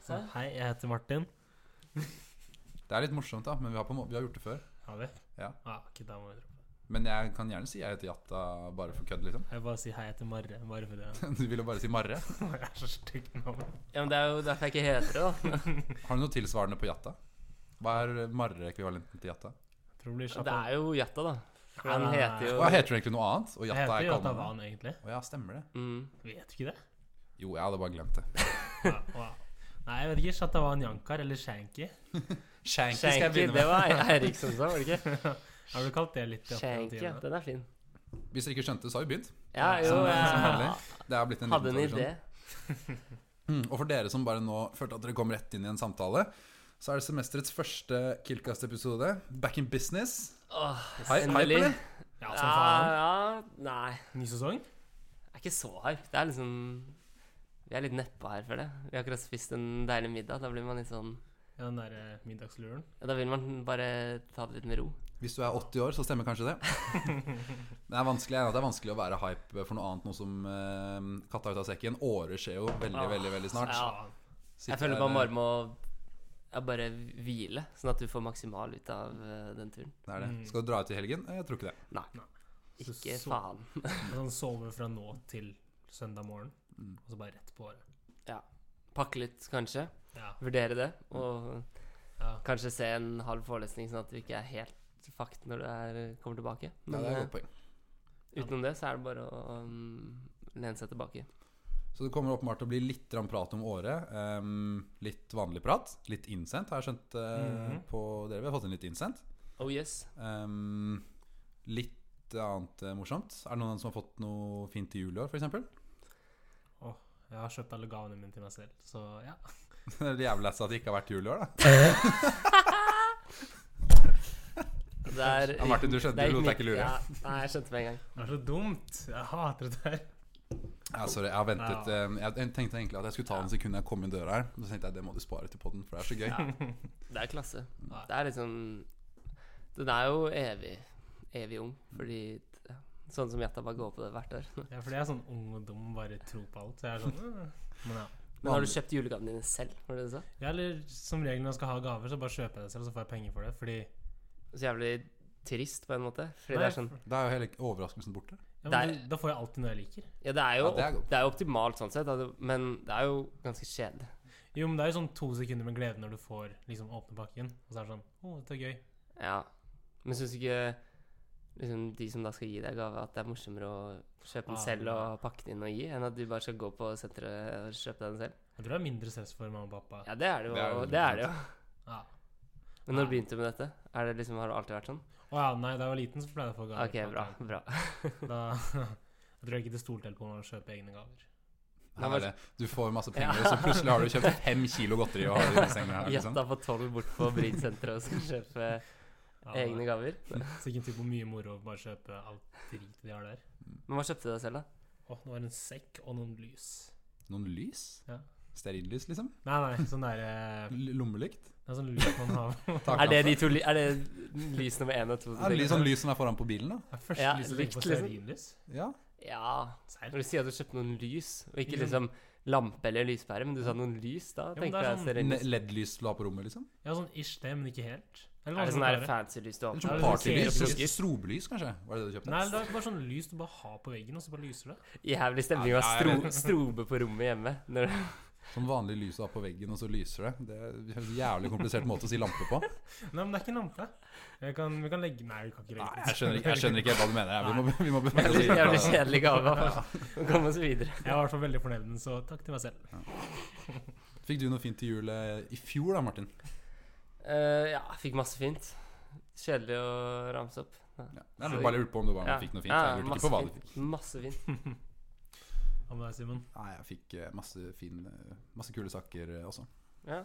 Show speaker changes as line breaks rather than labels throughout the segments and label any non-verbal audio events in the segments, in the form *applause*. Jeg heter Martin.
Det er litt morsomt, da, men vi har, på, en må- vi har gjort det før.
Har vi?
Ja.
ok, da må vi droppe.
Men jeg kan gjerne si jeg heter Jatta bare for kødd, liksom. *laughs*
Jeg vil bare si hei, jeg heter Marre. Bare for det.
Du ville bare si Marre.
Jeg er så stygg nå.
Ja, men Det er jo derfor jeg ikke heter det.
*laughs*
da
Har du noe tilsvarende på Jatta? Hva er Marre-ekvivalenten til Jatta?
Jeg tror det blir
Det er jo Jatta, da. For han
Nei, nei,
heter jo
Hva heter du egentlig noe annet? Og
Jeg
Jatta
heter
er
jo Jatta
kallenavn?
Van, egentlig.
Å ja, stemmer det.
mm.
Vet du ikke det?
Jo, jeg hadde bare glemt det.
Ja, wow. Nei, jeg vet ikke. Jatta Van Jankar eller Shanky.
Shanky skal jeg
Shanky.
begynne
Det
med. *laughs*
var Eirik som sa, var det ikke?
Har du kalt det litt? i
Shanky, ja,
oppgangstidene?
den er fin.
Hvis dere ikke skjønte det, så har vi begynt.
Ja, jo,
Som- som
jeg
vanlig. Det er blitt en
hadde
liten
en
tradisjon.
idé.
Mm, og for dere som bare nå følte at dere kom rett inn i en samtale, så er det semesterets første Killcast-episode. Back in business.
Åh,
Hei, hei på
endelig.
det.
Ja,
Ja,
som faen.
ja, nei.
Ny sesong?
Jeg er ikke så hype. Det er liksom Vi er litt nedpå her, føler jeg. Vi har akkurat spist en deilig middag. Da blir man litt sånn
Ja, den derre middagsluren.
Ja, da vil man bare ta det litt med ro.
Hvis du er 80 år, så stemmer kanskje
*laughs*
det. Det er vanskelig, jeg er enig i at det er vanskelig å være hype for noe annet nå som eh, katta ut av sekken. Året skjer jo veldig,
Ah,
veldig veldig snart.
ja.
Faen.
Sitter
Jeg
her,
føler
eh,
man bare må ja, bare hvile, sånn at du får maksimal ut av eh, den turen.
det er det. Skal du dra ut i helgen? Eh, Jeg tror ikke det.
Nei.
Nei. Så-
Ikke
så-
faen.
*laughs* Sånn sove fra nå til søndag morgen,
Mm.
og så bare rett på året.
Pakke litt, kanskje.
Ja.
Vurdere det. Og
ja.
kanskje se en halv forelesning, sånn at du ikke er helt fucked når du er, kommer tilbake.
Ja,
Men
det er et
eh,
godt poeng.
utenom det, så er det bare å um, lene seg tilbake.
Så det kommer åpenbart til å bli litt grann prat om året. ehm, litt vanlig prat. Litt innsendt, har jeg skjønt eh,
Mhm.
på dere. Vi har fått inn litt innsendt.
Oh yes.
Ehm, litt annet eh, morsomt. Er det noen som har fått noe fint til jul i år, f.eks.?
Jeg har kjøpt alle gavene mine til meg selv, så ja.
*laughs* det er jævlig lett at det ikke har vært jul i år, da.
Det er,
Ja, Martin, du skjønte- du lot deg
mitt-
ikke lure.
Ja, nei, jeg skjønte med en gang.
Det er så dumt! Jeg hater det der.
Ja, sorry, jeg har ventet.
Ja.
eh, Jeg jeg tenkte egentlig at jeg skulle ta den sekunden jeg kom inn døra her. Så tenkte jeg det må du spare til podden, for det er så gøy.
Det er klasse.
Nei.
Det er liksom Den er jo evig, evig ung, fordi ja, Sånn som Jatta bare går på det hvert år.
Ja, fordi jeg er sånn ung og dum, bare tror på alt. Så jeg er sånn «Øh». Men ja.
Men har du kjøpt julegavene dine selv? Var det det du sa?
ja. Eller som regel når jeg skal ha gaver, så bare kjøper jeg det selv, og så får jeg penger for det. Fordi ja,
Så jævlig trist, på en måte. Fordi
Nei.
det er sånn
Da er jo hele overraskelsen borte.
men
Det er-
da- Da får jeg alltid noe jeg liker.
Ja, det er jo,
Ja, det er godt.
det er jo optimalt sånn sett, da, det- men det er jo ganske kjedelig.
Jo, men det er jo sånn to sekunder med glede når du får liksom åpne pakken, og så er det sånn Å, dette er gøy.
Ja. Men syns ikke liksom, de som da skal gi deg gave, at det er morsommere å kjøpe den
Ah,
selv
ja.
og pakke den inn og gi, enn at du bare skal gå på senteret og kjøpe deg den selv?
Jeg tror det er mindre stress for mamma og pappa.
Ja, det er det
Det er
jo.
jo
Det er det jo.
Ja.
Men når
Nei.
begynte du med dette? Er det liksom, har det alltid vært sånn?
Å ja, nei, da jeg var liten, så pleide jeg å få gaver.
Ok, bra. bra.
Da *laughs* jeg tror jeg ikke det stolte helt på meg å kjøpe egne gaver.
Nei,
Her
men-
er det. Du får masse penger,
Ja.
så plutselig har du kjøpt fem kilo godteri. Og har det i senga her, liksom.
Gjetta på tolv bort på Brynsenteret og skal kjøpe
Ja,
egne gaver.
*laughs* Sikkert typ hvor mye moro å bare kjøpe alt dritet de har der.
Men hva kjøpte du deg selv, da?
Å, det var en sekk og noen lys.
Noen lys?
Ja.
Stearinlys, liksom?
Nei, nei, sånn derre
L- Lommelykt?
Det er sånn lys man har *laughs*
Er det, de to, ly- er det lys nummer én og to? du
Er det
tenker
lys-
på?
sånn lys som er foran på bilen, da?
Det er første
Ja,
lyset jeg tenker på
likt, liksom.
stearinlys.
Ja.
Ja.
Serr?
Når du sier at du kjøpte noen lys, og ikke
Ikke
liksom lampe eller lyspære, men du sa noen lys, da
Mm. men det
tenkte
er
jeg
sånn-
ser
Ne-
det
LED-lys du har på rommet, liksom?
Ja, sånn ish det, men ikke helt. Eller
Er
vanskelig
det sånn
å
der
forklare.
fancy lys du har
Eller
på?
Ja, det
sånn
er sånn
partylys?
seriebruker.
Strobelys, kanskje? Var det det du kjøpte?
Nei, det er bare sånn lys du bare har på veggen, og så bare lyser det.
Jævlig stemning av
Ja, det er
stro, strobe på rommet hjemme.
*laughs*
Når,
Sånn vanlig lys du har på veggen, og så lyser det. Det er en jævlig komplisert måte å si lampe på.
Nei, men det er ikke en lampe. Jeg kan, vi kan legge Nei, vi kan ikke
Nei,
legge
jeg skjønner ikke, jeg skjønner ikke helt hva du mener. Jeg. Vi må, vi
*laughs*
må bevege oss
jævlig, jævlig
sånn.
videre.
kjedelig gave. Nå kommer vi oss videre.
*laughs* Jeg var i hvert fall veldig fornøyd med den, så takk til meg selv.
Fikk du noe fint til jul eh, i fjor da, Martin?
Eh, ja, jeg fikk masse fint. Kjedelig å ramse opp.
Ja. Jeg bare lurte på om du bare fikk noe fint. Jeg lurte ikke
masse,
på hva du
fint.
fikk.
masse fint.
Hva med deg, Simen?
Nei, jeg fikk eh, masse, fin, eh, masse kule saker eh, også.
Ja,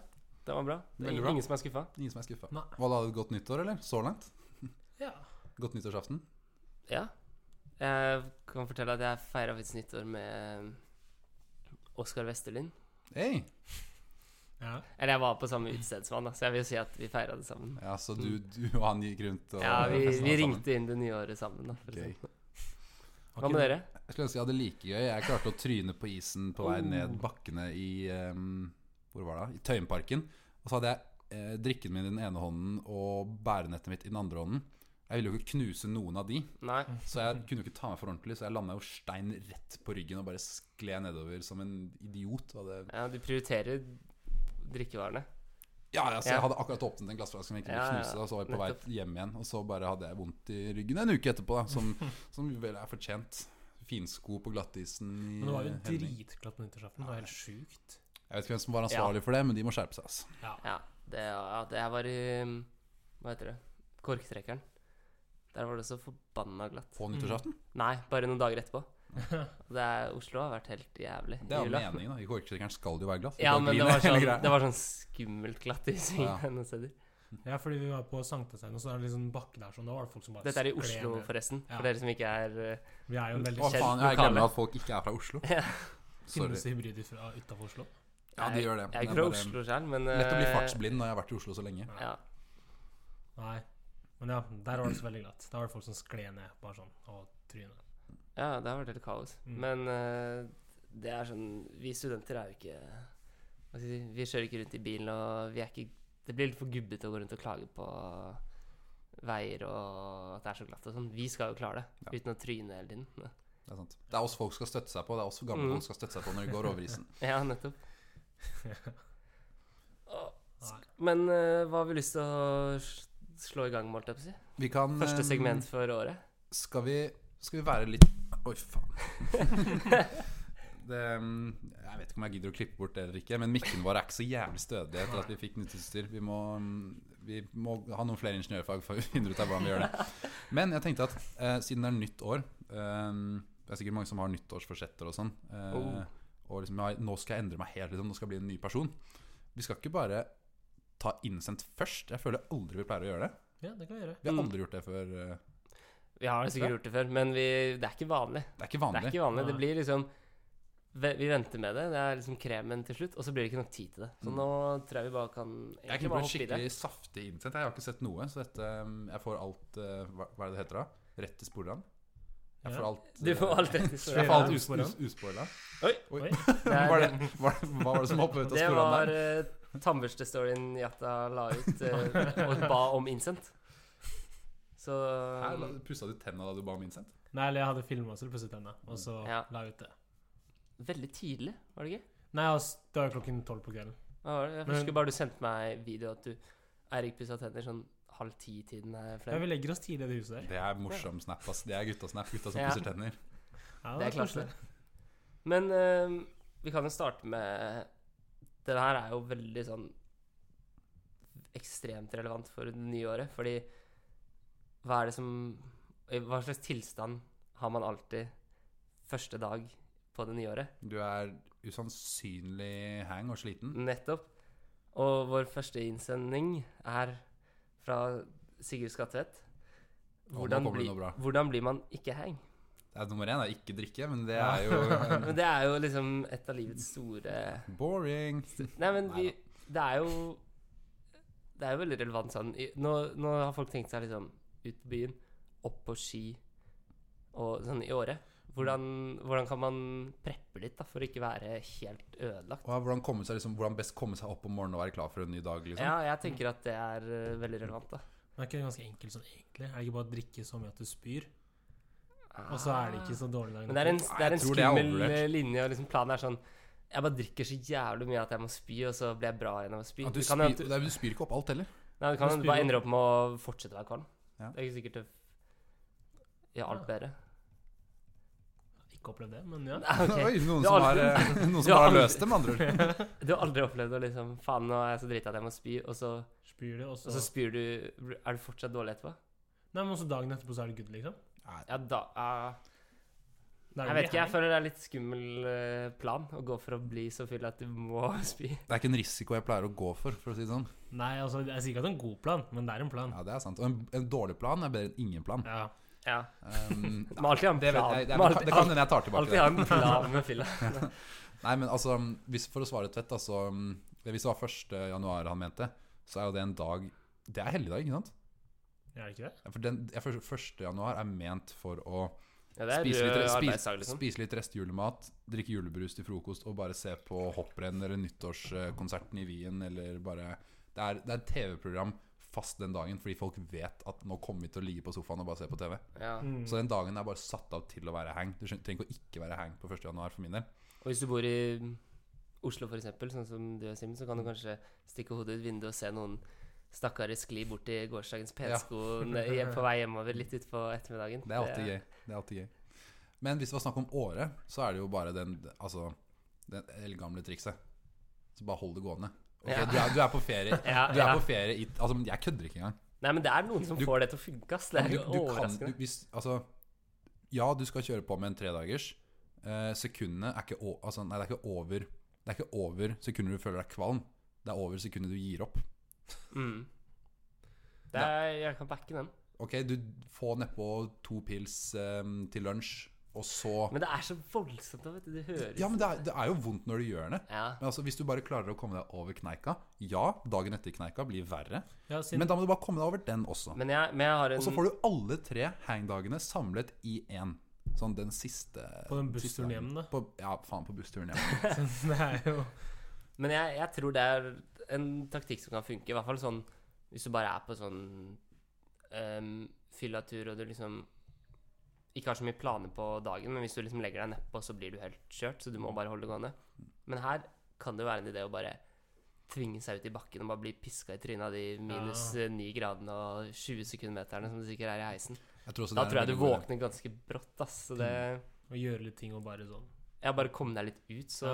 det var bra. Det
Veldig
er
bra.
ingen som er skuffa.
Ingen som er skuffa.
Nei.
Var det et godt nyttår, eller? Så langt?
Ja.
Godt nyttårsaften?
Ja. Jeg kan fortelle at jeg feira faktisk nyttår med Oskar Westerlin.
Hei!
ja.
Eller jeg var på samme utested som han, da, så jeg vil si at vi feira det sammen.
Ja, så du, du og han gikk rundt og
Mm. Ja, vi,
festet
vi
sammen.
ringte inn det nye året sammen, da. For å si
Gøy.
det sånn. Hva med dere? Oh.
Jeg skulle ønske jeg hadde like gøy. Jeg klarte å tryne på isen på vei ned bakkene i um, Hvor var det? I Tøyenparken. Og så hadde jeg eh, drikken min i den ene hånden og bærenettet mitt i den andre hånden. Jeg ville jo ikke knuse noen av de,
Nei.
så jeg kunne jo ikke ta meg for ordentlig. Så jeg landa jo stein rett på ryggen og bare skled nedover som en idiot. Og det,
Ja, du prioriterer drikkevarene.
ja, ja, så
Ja.
jeg hadde akkurat åpnet en glassflaske som jeg ikke ville
Ja, ja,
knuse, og så var jeg på
nettopp.
vei hjem igjen. Og så bare hadde jeg vondt i ryggen en uke etterpå, da, som,
*laughs*
som vel er fortjent. Finsko på glattisen i
Men det var jo
Henning.
dritglatt på nyttårsaften. Det var helt sjukt.
Jeg vet ikke hvem som var ansvarlig for det, men de må skjerpe seg. Altså.
Ja.
Ja, det, ja, det her var i um, Hva heter det? Korktrekkeren. Der var det så forbanna glatt.
På nyttårsaften.
Nei, bare noen dager
*laughs*
etterpå. Og Det er, Oslo har vært helt jævlig.
Det er jo
Jula.
meningen, da. I korkstrekkeren skal det jo være glatt.
Ja,
Du kan
men det
grine
var
*laughs* hele
sånn,
greia.
det var sånn skummelt glatt i svingene
Ja.
noen steder.
ja, fordi vi var på Sankthanshaugen, og så er det liksom bakke der sånn. Da var det folk som bare
Dette er i
skled
Oslo,
ned.
forresten.
Ja.
For dere som ikke er uh,
Vi er jo en
Å
veldig
kjent
faen, jeg
lokale.
glemmer at folk ikke er fra Oslo.
Ja.
Finnes
Sorry.
det hybrider fra utafor Oslo?
Ja, de gjør det.
Jeg er
Det
ikke
er
fra
bare
Oslo selv, men
Lett å bli
eh,
fartsblind når jeg har vært i Oslo så lenge.
Ja.
Nei. Men ja, der var det så veldig glatt. Der var det folk som skled ned, bare sånn, og trynet.
Ja, det har vært helt kaos.
Mm.
Men eh, det er sånn Vi studenter er jo ikke Hva skal jeg si Vi kjører ikke rundt i bilen, og vi er ikke Det blir litt for gubbete å gå rundt og klage på veier og at det er så glatt og sånn. Vi skal jo klare det
Ja.
uten å tryne hele tiden. *laughs*
Det er, sant. det er oss folk skal støtte seg på, det er oss gamle
Mm.
folk skal støtte seg på når de går over isen.
Ja, nettopp. Å,
Nei.
Men eh, hva har vi lyst til å s- slå i gang med, holdt jeg på å si?
Vi kan
Første
eh,
segment for året?
Skal vi, skal vi være litt Oi, faen.
*laughs*
Det, mm, jeg vet ikke om jeg gidder å klippe bort det eller ikke, men mikken vår er ikke så jævlig stødig etter at vi fikk nytt utstyr. Vi må, mm, vi må ha noen flere ingeniørfag for å finne ut av hvordan vi gjør det. Men jeg tenkte at eh, siden det er nytt år eh, Det er sikkert mange som har nyttårsforsetter og sånn. eh,
Oh.
Og liksom, ja, nå skal jeg endre meg helt, liksom, nå skal jeg bli en ny person. Vi skal ikke bare ta innsendt først. Jeg føler aldri vi pleier å gjøre det.
Ja, det kan vi gjøre.
Vi har
Mm.
aldri gjort det før. eh,
Vi har sikkert
Ja.
gjort det før, men vi, det er ikke vanlig.
Det er ikke
Det er
vanlig.
ikke vanlig. Det
Nei.
blir liksom ve- Vi venter med det. Det er liksom kremen til slutt, og så blir det ikke nok tid til det. Så
Mm.
nå tror jeg vi bare kan
Jeg
egentlig
kunne blitt
bare hoppe i det.
skikkelig saftig innsendt. Jeg har ikke sett noe, så dette um, Jeg får alt eh, hva, hva er det det heter da? Rett til sporene? Jeg
Ja.
får alt
Du får
eh,
alt rett i
Jeg
sporet.
får alt
Ja,
us,
sporene.
us, usporene. Oi.
Oi.
*laughs* Det er-
Var det, var, det- hva var det som hoppa ut av
Det
sporene
var
der?
eh, tannbørstestoryen Jata la ut
*laughs*
eh, og ba om innsendt. Så
Her la- Pussa du tenna da du ba om innsendt?
Nei, eller jeg hadde filma og så pusset tenna, og så
Ja.
la jeg ut det.
Veldig tidlig, var det ikke?
Nei, altså, det var klokken tolv på kvelden.
Hva var det? Jeg
Men-
husker bare du sendte meg video at du Eirik pussa tenner sånn halv ti-tiden. her
Ja,
frem.
vi legger oss tidlig i det huset der.
Det er morsom snap, ass. Det er guttasnap. Gutta som
Ja.
pusser tenner.
Ja,
Det er
var koselig.
klasse. Men eh, vi kan jo starte med Den her er jo veldig sånn ekstremt relevant for det nye året. Fordi hva er det som i Hva slags tilstand har man alltid første dag på det nye året?
Du er usannsynlig hang og sliten.
Nettopp. Og vår første innsending er fra Sigurd Skatvedt.
nå
Hvordan,
kommer det
bli,
noe bra.
hvordan blir man ikke
*laughs*
hang?
Det er nummer én er ikke drikke, men det er jo
Men det er jo liksom et av livets store
boring.
Nei, men vi,
Neida.
det er jo Det er jo veldig relevant sånn I- Nå, nå har folk tenkt seg liksom ut på byen, opp på ski og sånn i året. Hvordan, hvordan kan man preppe litt da, for å ikke være helt ødelagt?
Og hvordan, komme seg, liksom, hvordan best komme seg opp om morgenen og være klar for en ny dag, liksom.
Ja, jeg tenker at det er eh, veldig relevant, da.
Men er ikke det ganske enkelt sånn egentlig? Er det ikke bare å drikke så mye at du spyr, og så er det ikke Ah, så dårlig dagen
Ah. Men det er en,
Nei,
det er
jeg
en
tror det er
skummel
overvurdert.
eh, linje. Og liksom planen er sånn Jeg bare drikker så jævlig mye at jeg må spy, og så blir jeg bra igjen av å spy.
At du,
Det kan
spyr,
hende at
det er- du spyr ikke opp alt heller.
Nei, du kan
Du
jo
spyr
bare
jo-
ender opp med å fortsette å være kvalm.
Ja.
Det er ikke sikkert det gjør alt bedre. *laughs*
Ikke opplevd det, men ja.
Ok.
Oi, noen
Du
som,
har
har, *laughs* eh, noen
du
som
har
har
aldri-
løst det, med andre ord.
Du har aldri opplevd å liksom Faen, nå er jeg så drita at jeg må spy, og så,
Spyr det, og så
og så spyr du Er du fortsatt dårlig etterpå?
Nei, men også dagen etterpå så er det good, liksom.
Ja, da eh,
Da er
Jeg
det
vet ikke, jeg føler det er litt skummel eh, plan å gå for å bli så full at du må *laughs* spy.
Det er ikke en risiko jeg pleier å gå for, for å si det sånn.
Nei, altså, jeg sier ikke at det er en god plan, men det er en plan.
Ja, det er sant. Og en, en dårlig plan er bedre enn ingen plan.
Ja.
Ja.
Um,
Du må alltid ha en
*laughs* det, vet,
plan.
jeg,
Du
det,
må
det,
alltid,
det kan hende jeg tar tilbake
alltid
det.
ha en plan med fylla.
Nei, men altså, hvis, for å svare Tvedt, altså um, Hvis det var 1. januar han mente, så er jo det en dag Det er helligdag, ikke sant?
Er det ikke det?
For den, jeg, for 1. januar er ment for å
*laughs* Ja, det er
spise, litt,
rød
spis-
arbeidsdag, liksom.
spise litt restjulemat, drikke julebrus til frokost og bare se på hopprenn eller nyttårskonserten i Wien eller bare Det er, det er et TV-program fast den dagen fordi folk vet at nå kommer vi til å ligge på sofaen og bare se på TV.
Ja.
Så den dagen er bare satt av til å være hang. Du skjøn- trenger ikke å ikke være hang på 1. januar for min del.
Og hvis du bor i Oslo, for eksempel, sånn som du og Simen, så
Mm.
kan du kanskje stikke hodet ut vinduet og se noen stakkare skli bort i gårsdagens pensko ned- hjem- på vei hjemover litt utpå ettermiddagen.
Det er alltid gøy. Det er alltid gøy. Men hvis det var snakk om året, så er det jo bare den, altså, den eldgamle trikset. Så bare hold det gående. Ok,
Ja.
du, er, du er på
*laughs*
ferie.
Ja,
Du er
ja.
på ferie i Altså, men jeg kødder ikke engang.
Nei, men det er noen som
Du-
får det til å funke, ass. Det er
du,
jo
du kan,
overraskende.
du, hvis, altså, ja, du skal kjøre på med en tredagers. Eh, sekundene er ikke, o- altså, nei, det er ikke over Det er ikke over sekundet du føler deg kvalm. Det er over sekundet du gir opp.
Mm. Det er, jeg kan backe den.
Ok, Du får nedpå to pils eh, til lunsj, og så
Men det er så voldsomt, da, vet du. Det høres
Ja, men det er, det er jo vondt når du gjør det.
ja.
Men altså, Hvis du bare klarer å komme deg over kneika Ja, dagen etter kneika blir verre,
Ja, siden,
men da må du bare komme deg over den også.
Men jeg, men jeg har en
Og så får du alle tre hangdagene samlet i én. Sånn den siste
På den
siste
bussturen
dagen.
hjem, da?
På, ja, faen, på bussturen hjem.
*laughs* så det er jo
Men jeg, jeg tror det er en taktikk som kan funke. I hvert fall sånn hvis du bare er på sånn ehm, fyllatur og du liksom ikke har så mye planer på dagen, men hvis du liksom legger deg nedpå, så blir du helt kjørt, så du må bare holde det gående. Men her kan det jo være en idé å bare tvinge seg ut i bakken og bare bli piska i trynet av de minus
Ja.
eh, 9 gradene og 20 sekundmeterne som det sikkert er i heisen.
Jeg tror også
Da
det er
tror
en
jeg du
veldig Mm. god idé.
våkner ganske brått, ass. Så det
Å gjøre litt ting og bare sånn.
jeg bare kom deg litt ut, så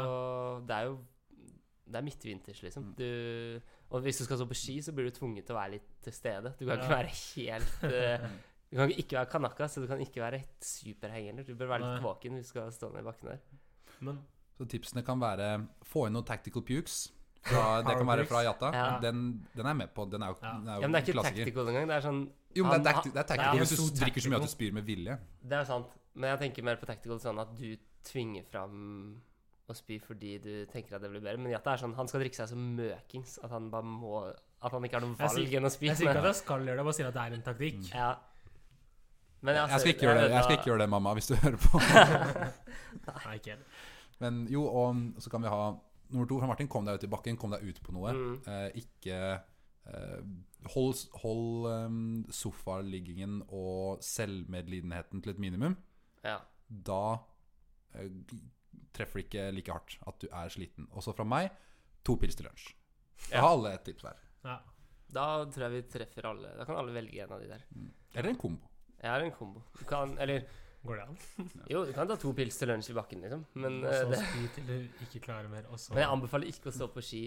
det er jo Det er midtvinters, liksom.
Mm.
Du, og hvis du skal stå på ski, så blir du tvunget til å være litt til stede. Du kan ikke
Ja.
være
*laughs*
helt eh, Du kan ikke være kanaka, så du kan ikke være helt superhenger. Du bør være litt
Nei.
våken hvis du skal stå ned i bakken der.
Men
Så tipsene kan være få inn noen tactical pukes.
*laughs*
Fra, det kan være fra Jata.
Ja.
Den, den er jeg med på. Den er jo,
Ja.
den er
Ja,
jo
men det er ikke
klassiker.
tactical engang. Det er sånn
Jo, men det er,
Han-
tacti det er
det
tactical
er
hvis
så
du drikker så mye at
tactical.
du spyr med vilje.
Det er sant. Men jeg tenker mer på tactical sånn at du tvinger fram å spy fordi du tenker at det blir bedre. Men Jatta er sånn Han skal drikke seg så møkings at han bare må At han ikke har noe
Jeg
valg
sier-
enn å spy.
jeg sier ikke at jeg skal gjøre det, jeg bare sier at det er en taktikk. *laughs*
Ja. Men
Jeg skal ikke gjøre det, jeg skal ikke gjøre det mamma, hvis du *laughs* hører på.
Nei, ikke helt.
Men jo, og så kan vi ha nummer to fra Martin. Kom deg ut i bakken, kom deg ut på noe.
Mm.
Eh, ikke eh, Hold, hold eh, sofaliggingen og selvmedlidenheten til et minimum.
Ja.
Da eh, treffer det ikke like hardt at du er sliten. Også fra meg to pils til lunsj. Jeg har alle et tips hver.
Ja.
Da tror jeg vi treffer alle. Da kan alle velge en av de der.
Eller en kombo.
Jeg har en kombo. Du kan Eller
Går det an?
jo, du kan ta to pils til lunsj i bakken, liksom. Men,
Og
eh,
så
det,
spy til du ikke klarer mer, og så
men jeg anbefaler ikke å stå på ski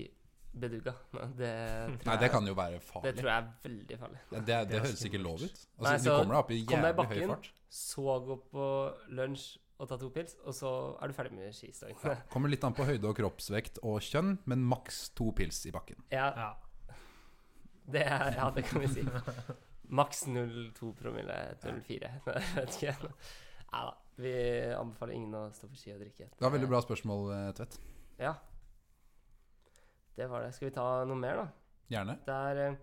bedugga. Nei, Det tror
Nei, det
jeg-
kan jo være
det
farlig.
tror jeg er veldig farlig.
Ja, det, det
er
høres ikke
skummelt.
lov ut. Altså,
Nei,
du
så
kommer deg opp i
kom deg i
jævlig høy
bakken.
fart.
Så gå på lunsj og ta to pils, og så er du ferdig med skistagen. Ja.
Kommer litt an på høyde og kroppsvekt og kjønn, men maks to pils i bakken.
Ja.
det er, ja, det kan vi
*laughs*
si. Maks 0,2 promille, 0,4. *laughs* Jeg vet ikke. Nei da. Vi anbefaler ingen å stå på ski og drikke.
Det var veldig bra spørsmål, eh, Tvedt.
Ja. Det var det. Skal vi ta noe mer, da?
Gjerne.
Det er eh,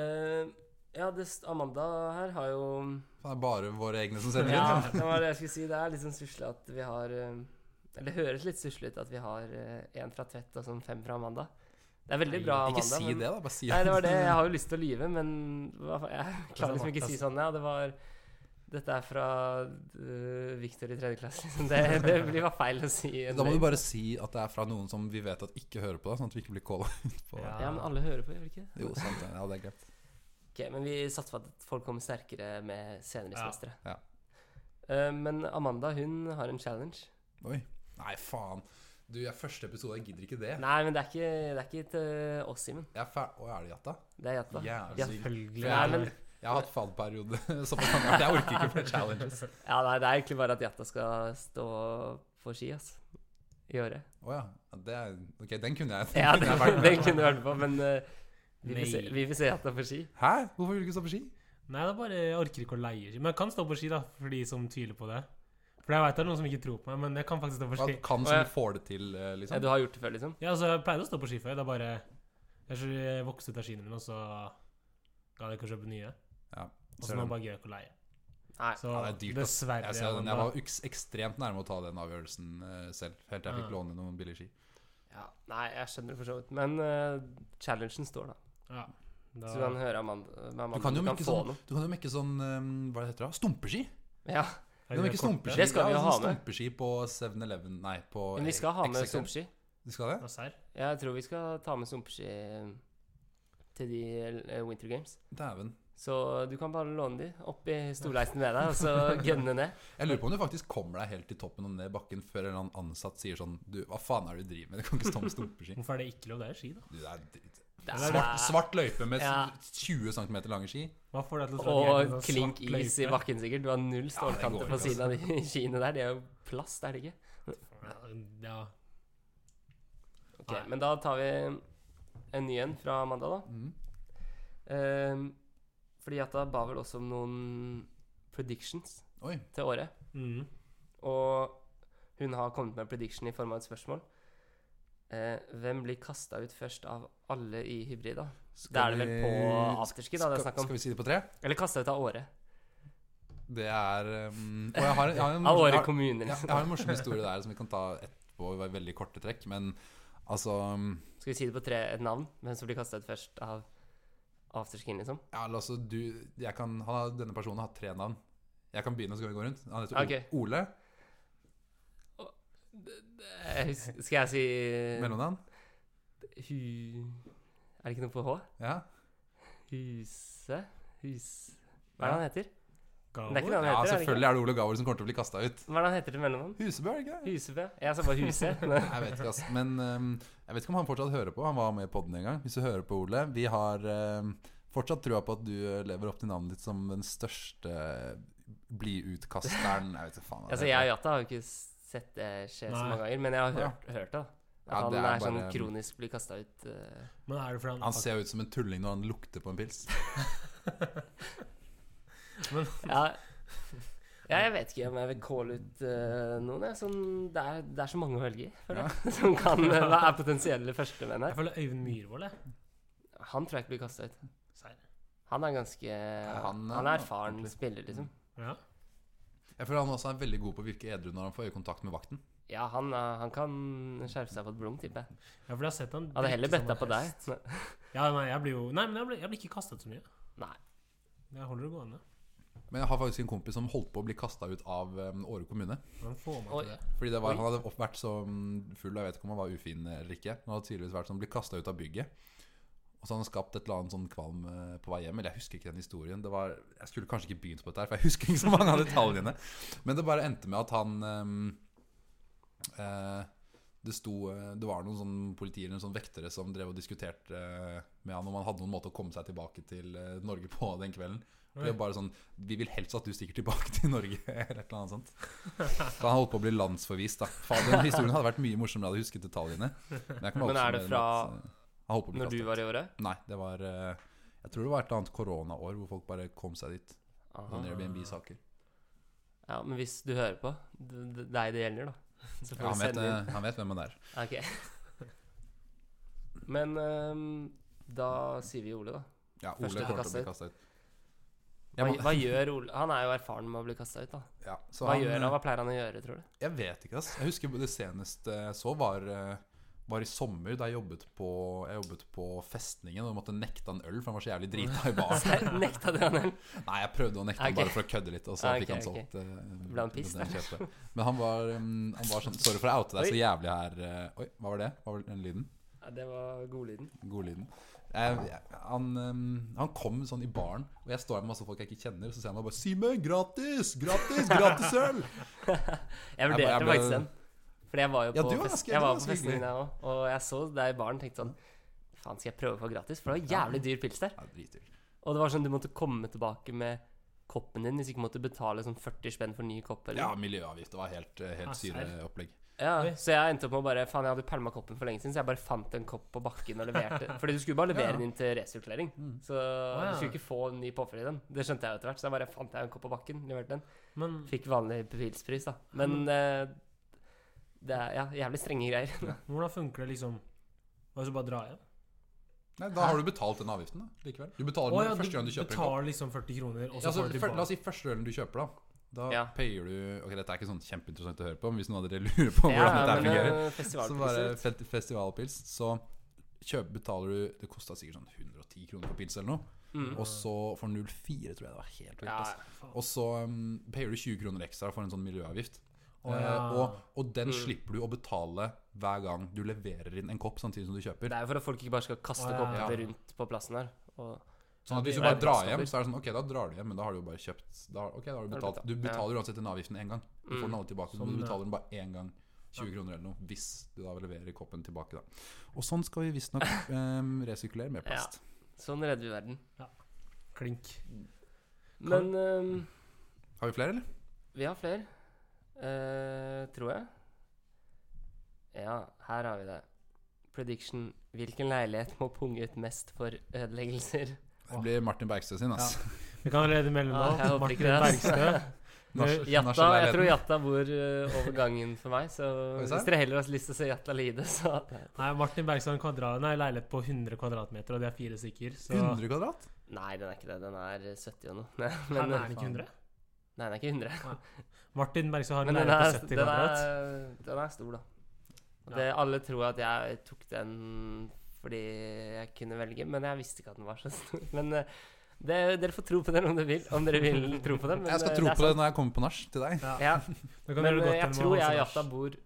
eh, Ja, det, st- Amanda her har jo
Det er bare våre egne som sender
Ja,
inn.
det var det jeg skulle si. Det er litt sånn susle at vi har eh, Eller det høres litt susle ut at vi har én fra Tvedt og sånn fem fra Amanda. Det er veldig
Nei,
bra, Amanda.
Ikke si
men-
det, da. Bare si
Nei, det var det. Jeg har jo lyst til å lyve, men hva fa- jeg klarer liksom ikke å si sånn. Ja, det var Dette er fra øh, Victor i tredje klasse, liksom. Det, det blir bare feil å si. en
*laughs* Da må du
løgn.
bare si at det er fra noen som vi vet at ikke hører på deg, sånn at vi ikke blir calla ut på
Ja.
det.
Ja, men alle hører på, gjør de ikke det?
Jo, sant det. Ja, det er greit.
Ok, men vi satser på at folk kommer sterkere med senere i
Ja.
semesteret.
Ja.
Eh, men Amanda, hun har en challenge.
Oi. Nei, faen. Du, jeg er første episode, jeg gidder ikke det.
Nei, men det er ikke, det er ikke til oss, Simen.
Jeg er fer... Å, er det jatta?
Det er Jatta.
Jævlig sykt.
Selvfølgelig.
Nei, men,
Jeg har hatt fallperiode *laughs* såpass mange at jeg orker ikke flere
*laughs*
challenges.
ja, nei, det er egentlig bare at Jatta skal stå på ski, ass. I året.
Å ja. Det er, ok, den kunne jeg.
Ja,
den kunne jeg vært
den,
med
den kunne du hørt på, men eh, vi, får
Nei.
se, vi får se at det er på ski.
Hæ? Hvorfor vil du ikke stå på ski?
Nei, det er bare jeg orker ikke å leie ski. Men jeg kan stå på ski, da, for de som tviler på det. For jeg veit det er noen som ikke tror på meg, men jeg kan faktisk stå på
Hva
ski.
kan
Å,
som
ja.
du får det til, eh,
Ja,
liksom?
du har gjort det før, liksom?
Ja, altså, jeg pleide å stå på ski før. Det er bare Jeg tror jeg vokste ut av skiene mine, og så gadd jeg ikke å kjøpe nye.
Ja,
Og så
ser
nå
den.
bare gøy ikke å leie.
Nei.
Så
Ja, det er dyrt, ass.
dessverre.
Jeg, ser den.
Amanda.
jeg var uks- ekstremt nærme å ta den avgjørelsen eh, selv, helt til jeg fikk
Ja.
låne noen billige ski.
Ja, nei, jeg skjønner det for så vidt. Men eh, challengen står, da.
ja, da,
Så du kan høre Amanda. med Amanda.
Du kan jo
du
mekke
kan få
sånn, du kan jo mekke sånn eh, Hva det heter det? Stumpeski?
noe. Ja,
Nei,
Du kan
det er
mekke
kort,
stumpeski.
det.
Det skal vi jo
Ja, sånn
ha med.
Stumpeski på 7-Eleven Nei, på
Men vi skal ha med
XXL.
sumpeski.
Du skal det?
Hva serr?
Jeg tror vi skal ta med sumpeski eh, til de eh, Winter Games.
Dæven.
Så du kan bare låne de opp i stolheisen ved deg, og så gønne ned.
Jeg lurer på om du faktisk kommer deg helt til toppen og ned bakken før en eller annen ansatt sier sånn Du, hva faen er det du driver med? Du kan ikke stå med
*laughs*
stumpeski.
Hvorfor er det ikke lov? Det er ski, da.
Du, det er dritt.
Det er-
Svart, svart løype med
Ja.
20 cm lange ski.
Hva får deg til å tro at jeg er en
Og
sånn
klink
svart
is i
løype?
bakken, sikkert. Du har null
går
stålkanter
ikke,
på siden av de *laughs* skiene der. De er jo plast, er det ikke?
Ja,
Ok,
Nei.
Men da tar vi en ny en fra Amanda, da.
Mm.
Ehm, fordi at da ba vel også om noen predictions
Oi.
til året.
mm.
Og hun har kommet med en prediction i form av et spørsmål. Eh, hvem blir kasta ut først av alle i hybrida? Det er det vel på afterski, da, det er
skal,
snakk om.
skal vi si det på tre?
Eller kasta ut av Åre.
Det er um, Og jeg har, jeg har en,
*laughs* Av
morsom-
Åre
jeg,
kommune,
har- jeg
liksom.
har en morsom historie der som vi kan ta etterpå i veldig korte trekk, men altså um,
Skal vi si det på tre et navn? Hvem som blir kasta ut først av afterskien, liksom?
Ja, la oss så du jeg kan, han, har- Denne personen har tre navn. Jeg kan begynne, så kan vi gå rundt. Han heter O-
Ok.
Ole.
Eh, hus- Skal jeg si eh,
Mellomnavn.
Hu... Er det ikke noe på H?
Ja.
Huse? Hus... Hva er det han heter?
Gabor?
Men det er ikke det han
ja,
heter? er det ikke?
selvfølgelig er det Ole Gaver som kommer til å bli kasta ut.
Hva er det han heter til mellomnavn?
Husebø, er det ikke? det?
Husebø? Jeg sa bare Huse. men-
Jeg vet ikke, ass. Men um, jeg vet ikke om han fortsatt hører på. Han var med i podden en gang. Hvis du hører på, Ole Vi har um, fortsatt trua på at du eh, lever opp til navnet ditt som den største bliutkasteren. Jeg vet ikke faen hva det heter.
Altså, jeg og Jata har jo ikke sett det skje så
Nei.
mange ganger, men jeg har hørt, hørt det. da. At
Ja,
han
det
er,
er
sånn
bare-
kronisk blir kasta ut. eh.
Men er det fordi han,
Han ser jo ut som en tulling når han lukter på en pils.
Ja. ja, jeg vet ikke om jeg vil calle ut eh, noen. Jeg. Sånn, det, er, det er så mange å velge i, føler jeg. *laughs* Som kan eh, hva er potensielle førstevenn
Jeg
her.
føler Øyvind Myhrvold, jeg.
Han tror jeg ikke blir kasta ut.
Serr.
Han er ganske Han
han er-
er, erfaren
ordentlig.
spiller, liksom.
Ja.
Jeg føler han også er veldig god på å virke edru når han får øyekontakt med vakten.
Ja, han, eh, han kan skjerpe seg på et blom, tipper jeg.
Ja, for jeg har sett han
Hadde heller
drikke som
betta
en
på deg.
hest. Ja, nei, jeg blir jo Nei, men jeg blir, jeg blir ikke kastet så mye.
Nei.
Jeg holder det gående.
Men jeg har faktisk en kompis som holdt på å bli kasta ut av um, Åre kommune.
Han får meg
Oi.
til det.
Fordi det var,
Oi.
Han hadde opp- vært så mm, full, jeg vet ikke om han var ufin eller ikke. Men han hadde tydeligvis vært sånn, blitt kasta ut av bygget. Og så hadde han skapt et eller annet sånn kvalm eh, på vei hjem. Eller jeg husker ikke den historien. Det var, jeg skulle kanskje ikke begynt på dette, her, for jeg husker ikke så mange av detaljene. Men det bare endte med at han eh, eh, det, sto, eh, det var noen sånn politi eller noen sånn vektere som drev og diskuterte eh, med han om han hadde noen måte å komme seg tilbake til eh, Norge på den kvelden. Og Det var bare sånn Vi vil helst at du stikker tilbake til Norge, *laughs* eller et eller annet sånt. Så han holdt på å bli landsforvist, da. Faen, den historien hadde vært mye morsommere om jeg hadde husket detaljene. Men, jeg kan
Men er
oppsummere
det
med
fra
at, eh, han holdt på å bli
Når du
kastet.
var i året?
Nei, det var eh, Jeg tror det var et eller annet koronaår hvor folk bare kom seg dit.
Aha.
Sånn Airbnb-saker.
Ja, men hvis du hører på, d- d- deg det gjelder, da. *laughs* Så
Ja, han,
får du
vet,
sende inn
eh, han vet hvem han er.
Ok. *laughs* Men ehm, da sier vi Ole, da.
Ja, Ole
Første til å
kommer til å
kaste
bli
ut.
kasta ut. Jeg,
Hva,
må,
hva gjør Ole? Han er jo erfaren med å bli kasta ut, da.
ja, så
Hva
han,
gjør
eh,
han? Hva pleier han å gjøre, tror du? *laughs*
Jeg vet ikke, ass. Jeg husker det seneste jeg så, var, eh, var i sommer, da jeg jobbet på, jeg jobbet på Festningen og måtte nekte han øl, for han var så jævlig
*laughs*
drita i baren.
Nekta det han gjør?
Nei, jeg prøvde å nekte han
Ok.
bare for å kødde litt, og så
Ah, ok,
fikk han
ok.
solgt eh,
Ble han piss,
den kjøpte. Men han var, mm, han var sånn Sorry for å oute deg så jævlig her. eh, Oi, hva var det? Hva var den lyden?
Ja, det var godlyden.
Godlyden. Jeg, jeg, han, øhm, han kom sånn i baren, og jeg står her med masse folk jeg ikke kjenner, og så sier han bare 'Simen, gratis! Gratis! Gratis
*laughs*
øl!'
Jeg
ble-
vurderte
jeg ble-
faktisk den. Fordi jeg var jo
Ja,
på,
du var
fest,
ganske-
jeg
du var
var på
ganske
festen
hyggelig.
din, jeg òg. Og jeg så deg i baren tenkte sånn Faen, skal jeg prøve å få gratis? For det var jævlig dyr pils der.
Ja, dritdyrt.
Og det var sånn du måtte komme tilbake med koppen din hvis ikke måtte betale sånn 40 spenn for ny kopp. Eller?
Ja, miljøavgift. Det var helt, eh,
Ah,
helt
serr.
syreopplegg.
Ja, så jeg endte opp med å bare Faen, jeg hadde pælma koppen for lenge siden, så jeg bare fant en kopp på bakken og leverte. Fordi du skulle bare levere
Ja. Mm.
den inn til resirkulering. Så
ja.
du skulle ikke få en ny påfyll i den. Det skjønte jeg etter hvert, så jeg bare fant jeg en kopp på bakken, leverte den.
Men
Fikk vanlig pilspris, da. Men
Mm.
eh,
*laughs*
det er ja, jævlig strenge greier.
hvordan funker det, liksom? Og så bare dra hjem?
Nei, Da har du betalt den avgiften da, likevel. Du betaler
Å
den
ja, du
første gang du kjøper en kopp.
betaler liksom 40 kroner, og så
Ja, altså,
får du
før- la
tilbake.
oss si første ølen du kjøper, da. Da
Ja.
payer du Ok, Dette er ikke sånn kjempeinteressant å høre på, men hvis noen av dere lurer på hvordan dette her fungerer
eh,
Så bare
festivalpriser.
fe- festivalpils, så kjøp, betaler du Det kosta sikkert sånn 110 kroner for pils eller noe.
Mm.
Og så for 04 tror jeg det var helt vilt.
Ja,
ass. Og så um, payer du 20 kroner ekstra for en sånn miljøavgift.
Å,
Eh,
ja.
og, og den
Mm.
slipper du å betale hver gang du leverer inn en kopp samtidig som du kjøper.
det er jo for at folk ikke bare skal kaste
Å, ja.
koppene
Ja.
rundt på plassen her. Og,
Sånn at hvis du
det er
bare drar
plass over.
hjem, så er det sånn Ok, da drar du hjem, men da har du jo bare kjøpt da, Ok, da har du
Da har du
betalt.
betalt,
Du
ja.
betaler uansett den avgiften én gang. Du får
Mm.
den aldri tilbake.
Sånn,
men du
ja.
betaler den bare én gang. 20 kroner eller noe, hvis du da leverer koppen tilbake. da Og sånn skal vi
*laughs*
visstnok um, resirkulere med
Ja.
plast.
sånn redder vi verden.
Klink.
Men eh,
Har vi flere, eller?
vi har flere, eh, tror jeg. Ja, her har vi det. Prediction. Hvilken leilighet må punge ut mest for ødeleggelser?
Det blir Martin Bergstø sin, ass.
Vi kan allerede melde
Ja, jeg
nå.
håper ikke
Martin
det, ass.
Bergstø.
Nach-
Jatta, jeg
nachleiligheten.
tror Jatta bor eh, over gangen for meg, så
Oi, sant?
hvis dere heller har lyst til å se Jatta lide, så
Nei, Martin Bergstø har en kvadrat, nei, leilighet på 100 kvadratmeter, og det er fire stykker. Så
100 kvadrat?
Nei, den er ikke det. Den er 70 og noe. *laughs* Nei,
Nei,
men,
nei, er den ikke 100?
nei, den er ikke 100.
Martin Bergstø har en
Men den er,
leilighet på 70
den
kvadrat.
er, den er stor, da. Og Det, alle tror at jeg tok den fordi jeg kunne velge, men jeg visste ikke at den var så stor. Men eh, det, dere får tro på den om dere vil. Om dere vil tro på den. Men,
Jeg skal
eh,
tro
er
på det
sant.
når jeg kommer på nach til deg.
Ja.
Ja,
Da kan
men
dere
eh,
godt
jeg
hende
tror
ha
jeg og
sånn
Jatta
nach.
bor rett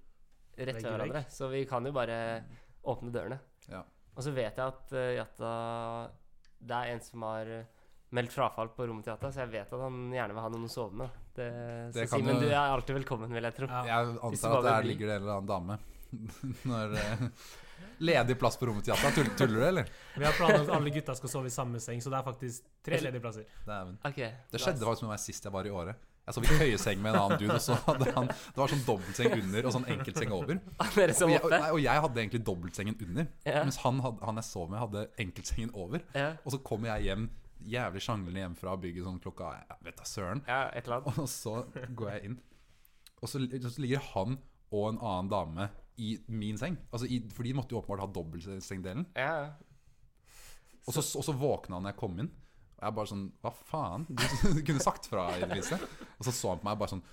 Vegg i
ved
vegg.
hverandre, så vi kan jo bare åpne dørene.
Ja.
Og så vet jeg at eh, Jatta Det er en som har eh, meldt frafall på rommet til Jatta, så jeg vet at han gjerne vil ha noen å sove med. da. Det,
Det
så
kan
Simen,
jo-
du er alltid velkommen, vil jeg tro.
Ja.
Jeg
Hvis det
antar
bare
at der
blir-
ligger det en eller annen dame. *laughs* Når eh, Ledig plass på rommet til Jatta. Tull- Tuller du, eller?
Vi har planer om at alle gutta skal sove i samme seng, så det er faktisk tre ledige plasser.
Dæven.
Ok,
Det
nice.
skjedde faktisk med meg sist jeg var i Åre. Jeg sov i køyeseng med en annen dude, og så hadde han Det var sånn dobbeltseng under og sånn enkeltseng over.
*laughs* Dere som
Og jeg, og,
måtte?
nei, og jeg hadde egentlig dobbeltsengen under,
Ja.
mens han, hadde, han jeg sov med, hadde enkeltsengen over.
Ja.
Og så kommer jeg hjem, jævlig sjanglende hjem fra bygget sånn klokka jeg vet da søren.
ja, et eller
*laughs*
annet.
Og så går jeg inn, og så, så ligger han og en annen dame i min seng. Altså i, for de måtte jo åpenbart ha dobbeltsengdelen.
Ja.
Og så, og så våkna han når jeg kom inn. Og jeg bare sånn Hva faen? Du *laughs* kunne sagt fra i det minste. Og så så han på meg bare sånn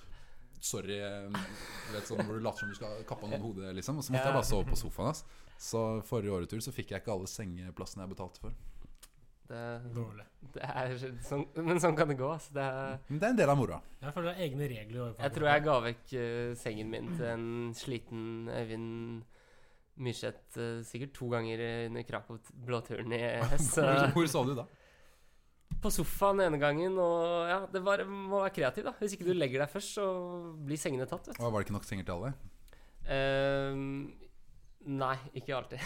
Sorry, eh, du vet sånn hvor du later som du skal kappe av noen hodet, liksom. Og så måtte jeg bare sove på sofaen hans. Så forrige åretur så fikk jeg ikke alle sengeplassene jeg betalte for.
Det,
Dårlig.
det er sånn, Men sånn kan det gå. Altså. Det er,
Men det er en del av moroa.
Jeg føler det er egne regler overfor
jeg tror jeg ga vekk eh, sengen min til en sliten Øyvind Myrseth eh, sikkert to ganger under Krakow-blåturen i høst. *laughs*
Hvor,
så-
hvor sov du da?
På sofaen den ene gangen, og ja, det bare må være kreativ, da. Hvis ikke du legger deg først, så blir sengene tatt, vet du.
Og var det ikke nok senger til alle?
Ehm, nei, ikke alltid.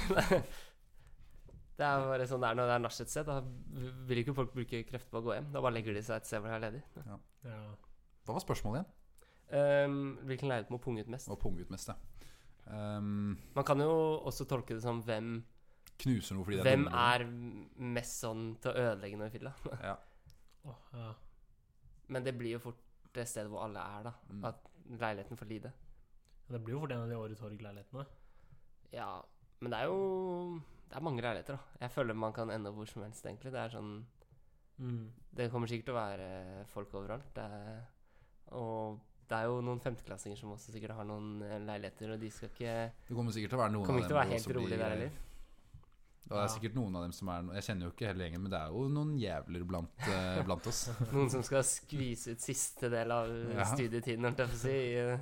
*laughs* det er bare sånn det er når det er nach et sted. Da vil ikke folk bruke krefter på å gå hjem. Da bare legger de seg et sted hvor det er ledig.
Ja.
Hva var spørsmålet igjen?
Ehm, hvilken leilighet må punge ut mest?
Og punget ut mest, ja. Ehm,
Man kan jo også tolke det som hvem,
knuser noe fordi det er
hvem
dumme.
er mest sånn til å ødelegge noe i fylla.
Åh, ja.
Men det blir jo fort det stedet hvor alle er, da.
Mm.
At leiligheten får lide.
Det blir jo fort en av de Åre Torg-leilighetene.
Ja, men det er jo Det er mange leiligheter, da. Jeg føler man kan ende opp hvor som helst, egentlig. Det er sånn
Mm.
Det kommer sikkert til å være folk overalt. Det er, og det er jo noen femteklassinger som også sikkert har noen eh, leiligheter, og de skal ikke
Det kommer sikkert til å være noen
Kommer ikke til å
av
være
dem
helt
som
rolig
blir-
der heller.
Ja, det er
Ja.
sikkert noen av dem som er no- Jeg kjenner jo ikke hele gjengen, men det er jo noen jævler blant,
*laughs*
eh, blant oss.
Noen som skal skvise ut siste del av eh,
*laughs* Ja.
studietiden, holdt jeg på å si, i eh,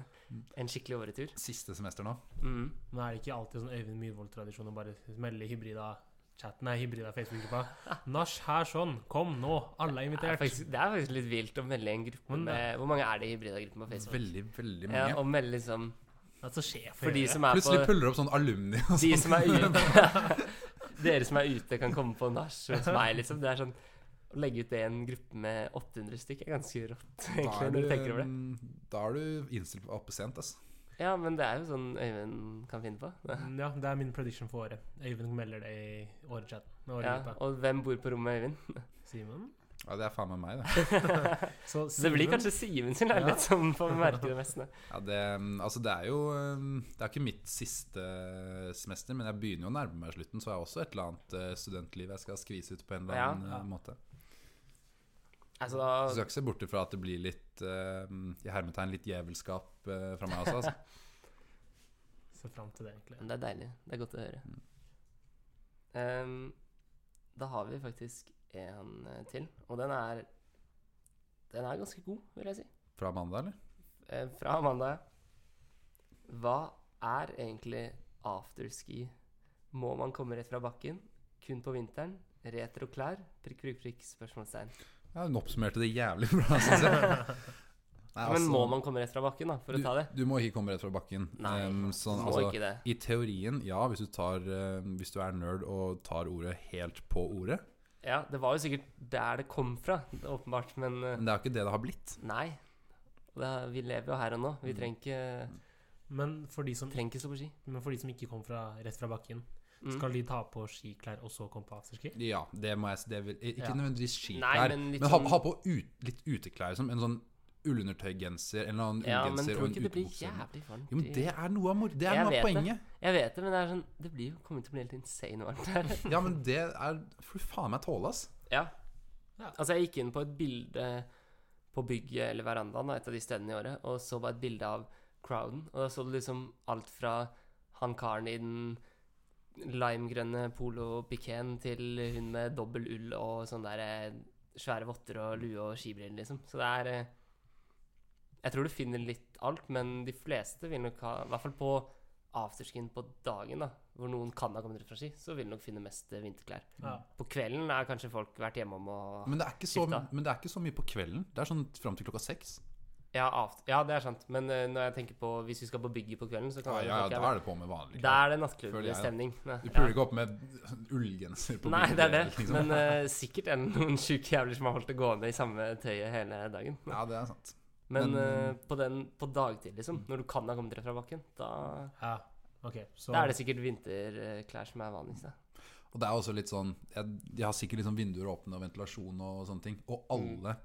en skikkelig åretur.
Siste semester nå.
Mm.
Men er det ikke alltid sånn Øyvind Myhrvold-tradisjon å bare melde hybrida chatten? Nei, hybrida
*laughs*
Facebook-gruppa. Nach her sånn. Kom nå. Alle er
Det, er
invitert.
faktisk, det er faktisk litt vilt å melde i en gruppe
Men det-
med Hvor mange er det i hybrida-gruppen på Facebook?
Veldig, veldig mange.
Ja, og melde liksom
Det er så sjef å
For de
gjøre.
som er på
Plutselig puller opp sånn alumni og
De
sånn.
som er ute *laughs* Dere som er ute, kan komme på nach hos meg, liksom. Det er sånn Å legge ut det i en gruppe med 800 stykk er ganske rått, *laughs*
Da
egentlig,
er
når du
du,
tenker over det.
mm, da er du innstilt på oppe sent, ass.
Ja, men det er jo sånn Øyvind kan finne *laughs* på.
Mm, Ja, det er min prediction for året. Øyvind melder det i årechatten.
Ja,
Åregutta.
og hvem bor på rommet med Øyvind?
Simen?
Ja, det er faen meg meg, det.
Så
Så det blir
Simen-
kanskje Simen sin leilighet som får merke det mest. nå.
Ja, det, altså, det er jo um, Det er ikke mitt siste eh, semester, men jeg begynner jo å nærme meg slutten, så jeg har også et eller annet eh, studentliv jeg skal skvise ut på en eller
Ja.
annen eh,
Ja.
måte.
Altså,
Så du
da,
skal ikke se bort ifra at det blir litt eh, i hermetegn litt djevelskap eh, fra meg også,
*laughs*
altså.
Ser fram til det, egentlig.
men det er deilig. Det er godt å høre. Ehm, da har vi faktisk en eh, til, og den er Den er ganske god, vil jeg si.
Fra mandag, eller?
Eh, fra Amanda. Hva er egentlig afterski? Må man komme rett fra bakken? Kun på vinteren? Retroklær? Prikk, prikk, prikk?
*laughs*
Spørsmålstegn.
Ja, hun oppsummerte det jævlig bra, syns
*laughs*
jeg. Nei,
Men
altså,
må man komme rett fra bakken, da, for å ta det?
Du, du må ikke komme rett fra bakken.
Nei,
Ehm, sånn,
må
altså,
ikke det.
I teorien, ja, hvis du, tar, eh, hvis du er nerd og tar ordet helt på ordet.
Ja, det var jo sikkert der det kom fra, det er åpenbart, men eh,
Men det er jo ikke det det har blitt.
nei. Det er, vi lever jo her og nå. Vi
Mm.
trenger ikke,
Men for, de som,
trenger ikke stå på ski.
men for de som ikke kom fra, rett fra bakken,
Mm.
skal de ta på skiklær og så komme på afterski?
Ja, det må jeg si. Det vil, ikke
Ja.
nødvendigvis
Nei,
skiklær,
men
men,
litt
ha,
sånn-
ha på ut, litt uteklær. Som en sånn ullundertøygenser, en eller annen
Ja, men
ullgenser
tror
og en
du ikke det blir
utebukse.
jævlig varmt?
Jo, men
i-
det er noe av, mor- det er
Jeg
noe av
vet det.
poenget.
Jeg vet det, men det er sånn Det blir jo kommer til å bli helt insane varmt her.
Ja, men det er får du faen meg tåle, ass.
Ja.
Ja.
Altså, jeg gikk inn på et bilde på bygget eller verandaen, da, et av de stedene i året, og så bare et bilde av crowden. Og da så du liksom alt fra han karen i den limegrønne polo-pikeen til hun med dobbel ull og sånne der eh, svære votter og lue og skibriller, liksom. Så det er eh, Jeg tror du finner litt alt, men de fleste vil nok ha I hvert fall på afterskien på dagen, da, hvor noen kan ha kommet rett fra ski, så vil du nok finne mest eh, vinterklær.
Ja.
På kvelden har kanskje folk vært hjemme om å
Men det er ikke så,
Skifta.
men det er ikke så mye på kvelden. Det er sånn fram til klokka seks.
ja, aft- ja, det er sant. Men eh, når jeg tenker på hvis vi skal på bygget på kvelden, så kan
Ja,
det
ja,
folk
ja,
være-
da er det på med vanlig
Da
klær.
er det
Føler jeg, da.
nattklubbstemning. Nei,
Du
ja.
puler ikke opp med ullgenser på
*laughs* Nei,
bildet,
det er det.
liksom.
Men eh, sikkert er det noen sjuke jævler som har holdt det gående i samme tøyet hele dagen.
Ja, det er sant.
Men
men-
eh, på, den, på dagtid, liksom, når du kan ha kommet rett fra bakken, da,
Ja, ok. Så
da er det sikkert vinterklær som er vanligst. Da.
Og det er også litt sånn jeg, De har sikkert liksom vinduer åpne og ventilasjon og sånne ting.
Mm.
Og alle,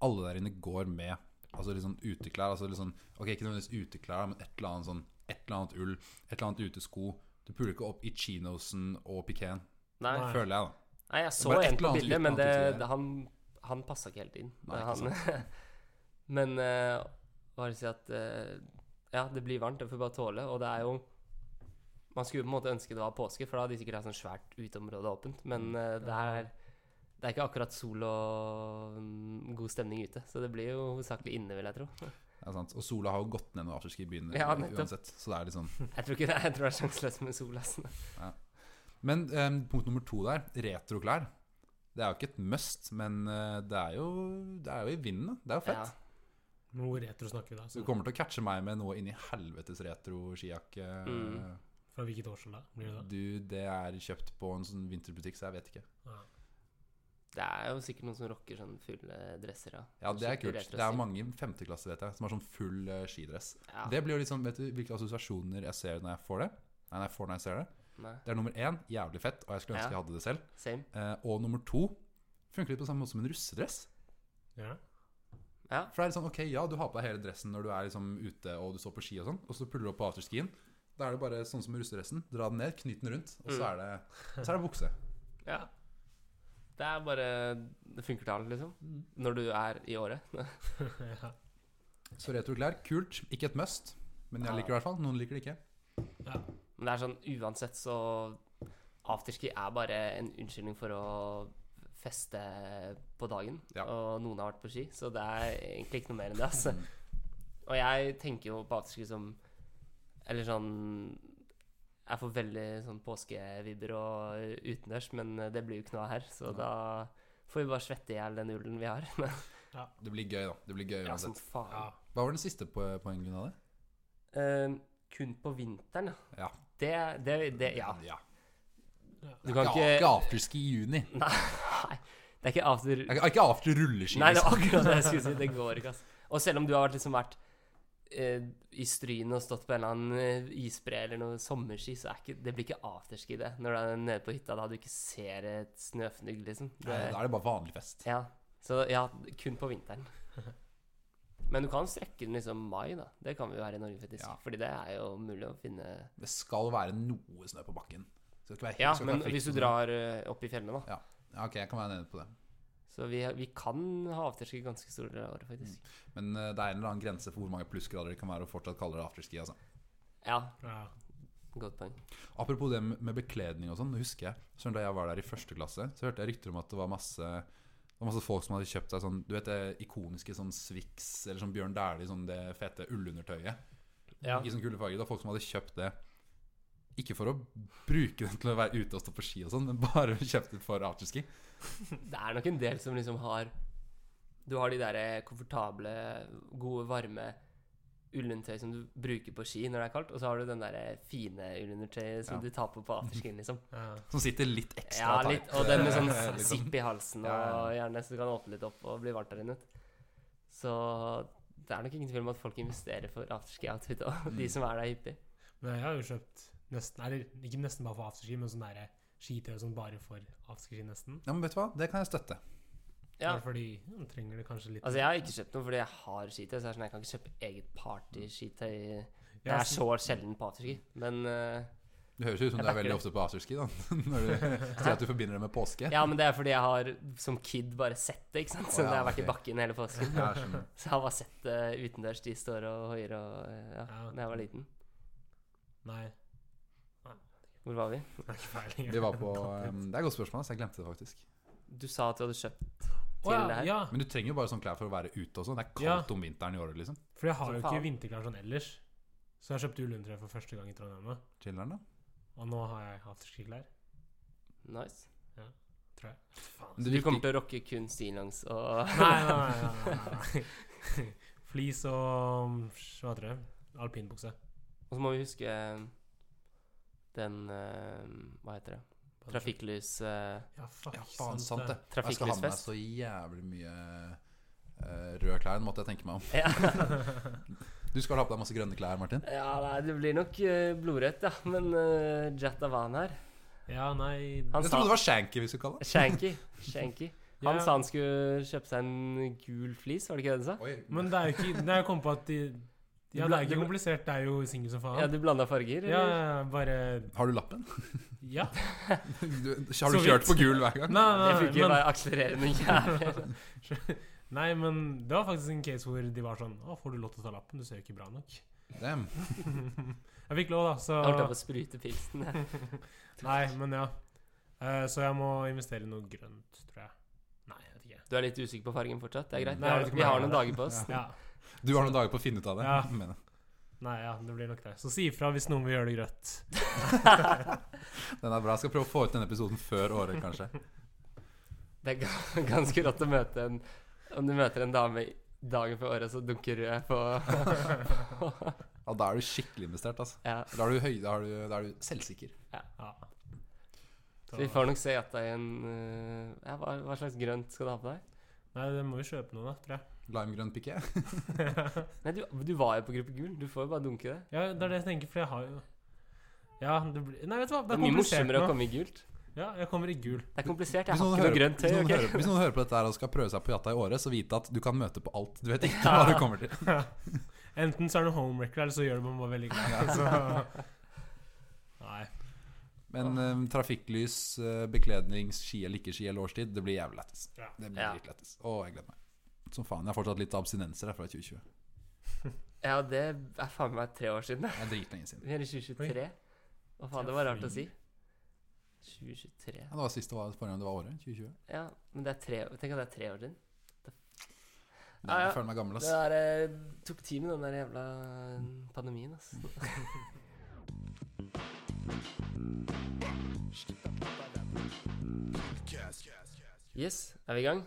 alle der inne går med altså litt sånn uteklær. Altså litt sånn, ok, Ikke nødvendigvis uteklær, men et eller annet sånn Et eller annet ull. Et eller annet utesko. Du puler ikke opp i chinosen og pikeen,
Nei,
Nei.
føler jeg, da.
Nei, jeg så
Bare et
en
eller
på
annet
bildet, men
uten
det,
antydning.
det, han, han passa ikke helt inn.
Nei, ikke
han, *laughs* men eh, bare si at eh, Ja, det blir varmt, det får vi bare tåle. Og det er jo Man skulle på en måte ønske det var påske, for da hadde de sikkert hatt sånn svært uteområde åpent.
Mm.
Men eh, det, er, det er ikke akkurat sol og mm, god stemning ute, så det blir jo hovedsakelig inne, vil jeg
*laughs*
tro.
Det er sant. Og sola har jo gått ned når afterski begynner
Ja, nettopp.
uansett. Så det er litt sånn
Jeg tror ikke det, jeg tror det er sjanseløst med sol. Altså.
Men eh, punkt nummer to der, retroklær. Det er jo ikke et must, men eh, det, er jo, det er jo i vinden. da. Det er jo
Ja.
fett.
Noe retro snakker vi da.
Så
Så
du kommer til å catche meg med noe inni helvetes retro skijakke.
Mm.
fra hvilket årstall da? Blir det da?
Du, det er kjøpt på en sånn vinterbutikk, så jeg vet ikke.
Mm.
Ja.
Det er jo sikkert noen som rocker sånn fulle dresser. Ja,
Ja, det er
Skikkelig
kult.
retro
Det
stil.
er mange i femteklasse, vet jeg, som har sånn full eh, skidress.
ja.
Det blir jo litt sånn, vet du hvilke assosiasjoner jeg ser når jeg får det? Nei, når jeg får når jeg ser det.
Nei.
Det er nummer én, jævlig fett, og jeg skulle ønske
Ja.
jeg hadde det selv.
Same.
Eh, og nummer to, funker litt på samme måte som en russedress.
Ja. *laughs*
Ja.
For det er litt sånn, ok, ja, du har på deg hele dressen når du er liksom ute og du står på ski og sånn, og så puller du opp på afterskien. Da er det bare sånn som russedressen. Dra den ned, knyt den rundt, og så
Mm.
er det, så er det bukse.
Ja. Det er bare Det funker til alle, liksom.
Mm.
Når du er i året.
ja.
Så retroklær, kult. Ikke et must, men jeg
Ja.
liker det i hvert fall. Noen liker det ikke.
Men det er sånn uansett så Afterski er bare en unnskyldning for å feste på dagen.
Ja.
Og noen har vært på ski, så det er egentlig ikke noe mer enn det. Altså.
Mm.
Og jeg tenker jo på afterski som Eller sånn Jeg får veldig sånn påskevibber og utendørs, men det blir jo ikke noe her. Så
Nei.
da får vi bare svette i hjel den ullen vi har. *laughs*
Det blir gøy, da. Det blir gøy
ja, som
uansett.
faen.
ja.
Hva var den siste po- poengen din av det?
Eh, kun på vinteren, ja.
Ja.
Det, det, det Ja.
ja.
Du kan
Ja,
ikke
Ikke afterski i juni.
*laughs* Nei. Det er ikke after
Ikke ikke after rulleski.
Nei, det
liksom.
var akkurat det jeg skulle si. Det går ikke, ass. Og selv om du har vært, liksom vært eh, i Stryn og stått på en eller annen eh, isbre eller noe sommerski, så er ikke, det blir ikke afterski, det. Når du er nede på hytta da du ikke ser et snøfnugg, liksom.
Nei, *laughs*
Det,
Da er det bare vanlig fest.
ja. Så ja, kun på vinteren. Men du kan strekke den liksom mai, da. Det kan vi jo her i Norge, faktisk.
Ja.
Fordi det er jo mulig å finne
Det skal være noe snø på bakken. Det skal ikke være helt,
Ja,
det skal ikke
men
være fritt
hvis du
for snø.
drar ø, opp i fjellene, da.
Ja, ok, jeg kan være enig på det.
Så vi, vi kan ha afterski ganske store deler av året, faktisk.
Men eh, det er en eller annen grense for hvor mange plussgrader det kan være å fortsatt kalle det afterski. Altså.
Ja,
Ja.
godt poeng.
Apropos det med bekledning og sånn, husker jeg selv da jeg var der i første klasse, så hørte jeg rykter om at det var masse det var masse folk som hadde kjøpt seg sånn Du vet det ikoniske sånn Swix eller sånn Bjørn Dæhlie, sånn det fete ullundertøyet
Ja.
i sånn kule farger. Det var folk som hadde kjøpt det ikke for å bruke det til å være ute og stå på ski og sånn, men bare kjøpt det for afterski.
Det er nok en del som liksom har Du har de der eh, komfortable, gode, varme ullundertøy som du bruker på ski når det er kaldt, og så har du den der eh, fine ullundertøyet som
Ja.
du tar på på afterskien,
*laughs*
liksom.
Ja.
Som sitter litt
Ja,
ekstra
litt,
tight,
og den med
eh, *laughs*
sånn
liksom.
sipp i halsen
Ja,
og gjerne så du kan åpne litt opp og bli varmt der inne. Så det er nok ingen tvil om at folk investerer for afterski-outfit òg, *laughs*
Mm.
de som er der hyppig.
Men jeg har jo kjøpt nesten Eller ikke nesten bare for afterski, men sånn derre skitøy og sånn bare for afterski, nesten.
Ja, men vet du hva? Det kan jeg støtte.
Ja.
Bare Fordi man trenger det kanskje litt
Altså, jeg har ikke kjøpt noe fordi jeg har skitøy, så jeg, er sånn, jeg kan ikke kjøpe eget party-skitøy. Det
Ja,
er
så-
så sjelden på afterski, men eh,
Det høres jo ut som
Jeg
du er
backer
veldig
det.
ofte på afterski, da. *laughs* Når du sier at du forbinder det med påske.
Ja, men det er fordi jeg har som kid bare sett det, ikke sant. Så
Å, ja,
jeg har vært
ok.
i bakken hele påsken.
Ja, jeg skjønner.
Så jeg har bare sett det utendørs. De står og hoier og eh, Ja,
Ja.
da jeg var liten.
Nei, det
Hvor var vi?
er ikke peiling.
*laughs* Vi var på
*laughs*
um, Det er et godt spørsmål, så jeg glemte det faktisk.
Du sa at du hadde kjøpt
Å,
til det
ja,
her.
ja,
Men du trenger jo bare sånne klær for å være ute og sånn. Det er
Ja.
kaldt om vinteren i året, liksom.
for jeg har
Som
jo ikke
faen.
vinterklær sånn ellers. Så jeg kjøpte ullundertøy for første gang i Trondheim nå.
Chiller'n, da.
Og nå har jeg afterski-klær,
Nice.
tror jeg. Faen.
Men *laughs*
Så
det
du
virker-
kommer til å rocke kun stillongs og
Nei, nei, nei. nei, nei, nei. *laughs* Flis og mm, hva heter det? Alpinbukse.
*laughs* Og så må vi huske eh, den eh, Hva heter det? Trafikklys... eh,
Ja, fuck,
Ja, faen, sant det. Jeg skal ha med meg
Trafikklysfest.
så jævlig mye eh, røde klær, nå måtte jeg tenke meg om.
Ja.
*laughs* Du skal ha på deg masse grønne klær, Martin.
ja, nei, det blir nok eh, blodrødt, ja. Men uh, Jatavan her
Ja, nei
Han
Jeg trodde det var shanky, hvis du kaller det.
Shanky. Shanky.
*laughs*
Han
Ja.
sa han skulle kjøpe seg en gul flis, var det ikke det du sa?
Oi.
Men det er jo ikke Det er jo kommet på at de Ja, det er
Du
ikke
bla-
komplisert. Det er jo singel som faen.
Ja, du blanda farger?
Ja,
eller?
bare
Har du lappen? *laughs*
Ja.
Du, har du
Så
kjørt
vidt.
på gul hver gang?
Nei,
Det
nei,
funker jo
nei,
bare akselererende
*laughs*
jævel.
men, nei, men det var faktisk en case hvor de var sånn Å, får du lov til å ta lappen? Du ser jo ikke bra nok.
Damn.
Jeg fikk lov, da,
Jeg holdt på
så
å sprute pilsen. jeg.
Nei, men ja. Eh, Så jeg må investere i noe grønt, tror jeg. Nei, jeg vet ikke.
Du er litt usikker på fargen fortsatt? Det er greit.
Nei,
Vi
jeg
har,
vet ikke om
vi
jeg
har
har
noen dager på oss.
Ja.
Du har noen dager på å finne ut av det.
Ja.
Men,
Nei, ja, det blir nok det. Så si ifra hvis noen vil gjøre det grønt.
*laughs* den er bra. Jeg skal prøve å få ut denne episoden før året, kanskje.
Det er ga- ganske rått å møte en Om du møter en dame i- dagen før året, så dunker rød på
Ja, da er du skikkelig investert, altså.
Ja.
Da er du, høy, da er du, da er du selvsikker.
Ja.
Så vi får nok se at det er en eh, ja, hva, hva slags grønt skal du ha på deg?
Nei, det må vi kjøpe noe, da, tror jeg.
Limegrønn piké.
Nei, du, du var jo på gruppe gul. Du får jo bare dunke det.
Ja, det er det jeg tenker, for jeg har jo Ja, det blir Nei, vet du hva,
Det
det er
er mye
komplisert
morsommere å
nå.
komme i gult.
Ja, jeg kommer i gul.
Det er komplisert. Jeg
Hvis
har
noen,
ikke noe
hører,
grønt
hvis,
tøy.
noen
ok?
hører, hvis noen hører på dette her og skal prøve seg på Jatta i året, så vite at du kan møte på alt. Du vet ikke hva du kommer til.
Enten så er du homewrecker, eller så gjør du meg bare veldig
*laughs*
glad.
altså.
Så. Nei.
Men eh, trafikklys, eh, bekledning, ski eller ikke ski eller årstid, det blir jævlig lættis.
Ja.
Det blir
Ja.
dritlættis. Å, jeg gleder meg. Som faen. Jeg har fortsatt litt abstinenser her fra 2020.
Ja, det er faen meg tre år siden. det.
Det er dritlenge siden.
Vi er i 2023. Hva faen, det var rart å si. 2023
Ja, det var siste var, forrige gang det var året. 2020.
Ja, men det er tre år Tenk at det er tre år siden.
Nei,
Ja, ja.
jeg føler meg gammel,
Det
ass.
er, eh, tok tid med den der jævla mm, pandemien, ass. *laughs* Yes, er vi i gang?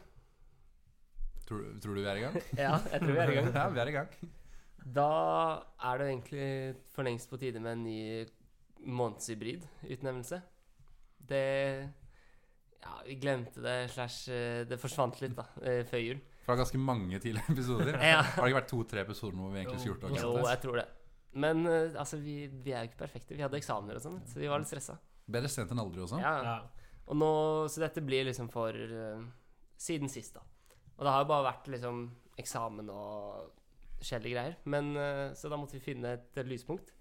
Tror, du- tror du vi er i gang?
Ja, jeg tror vi er i gang.
*laughs* Ja, vi er i gang.
Da er det egentlig for lengst på tide med en ny månedshybrid-utnevnelse. Det Ja, vi glemte det, slash eh, Det forsvant litt, da, eh, før
*laughs*
jul.
Fra ganske mange tidligere episoder.
*laughs* Ja.
Har det ikke vært to-tre episoder hvor vi egentlig skulle gjort det?
Jo,
akkurat det?
jeg tror det. Men eh, altså, vi, vi er jo ikke perfekte. Vi hadde eksamener og sånn, så vi var litt stressa.
Bedre sent enn aldri også.
Ja.
Ja.
Og nå, så dette blir liksom for eh, siden sist, da. Og det har jo bare vært liksom eksamen og forskjellige greier. Men, eh, så da måtte vi finne et lyspunkt.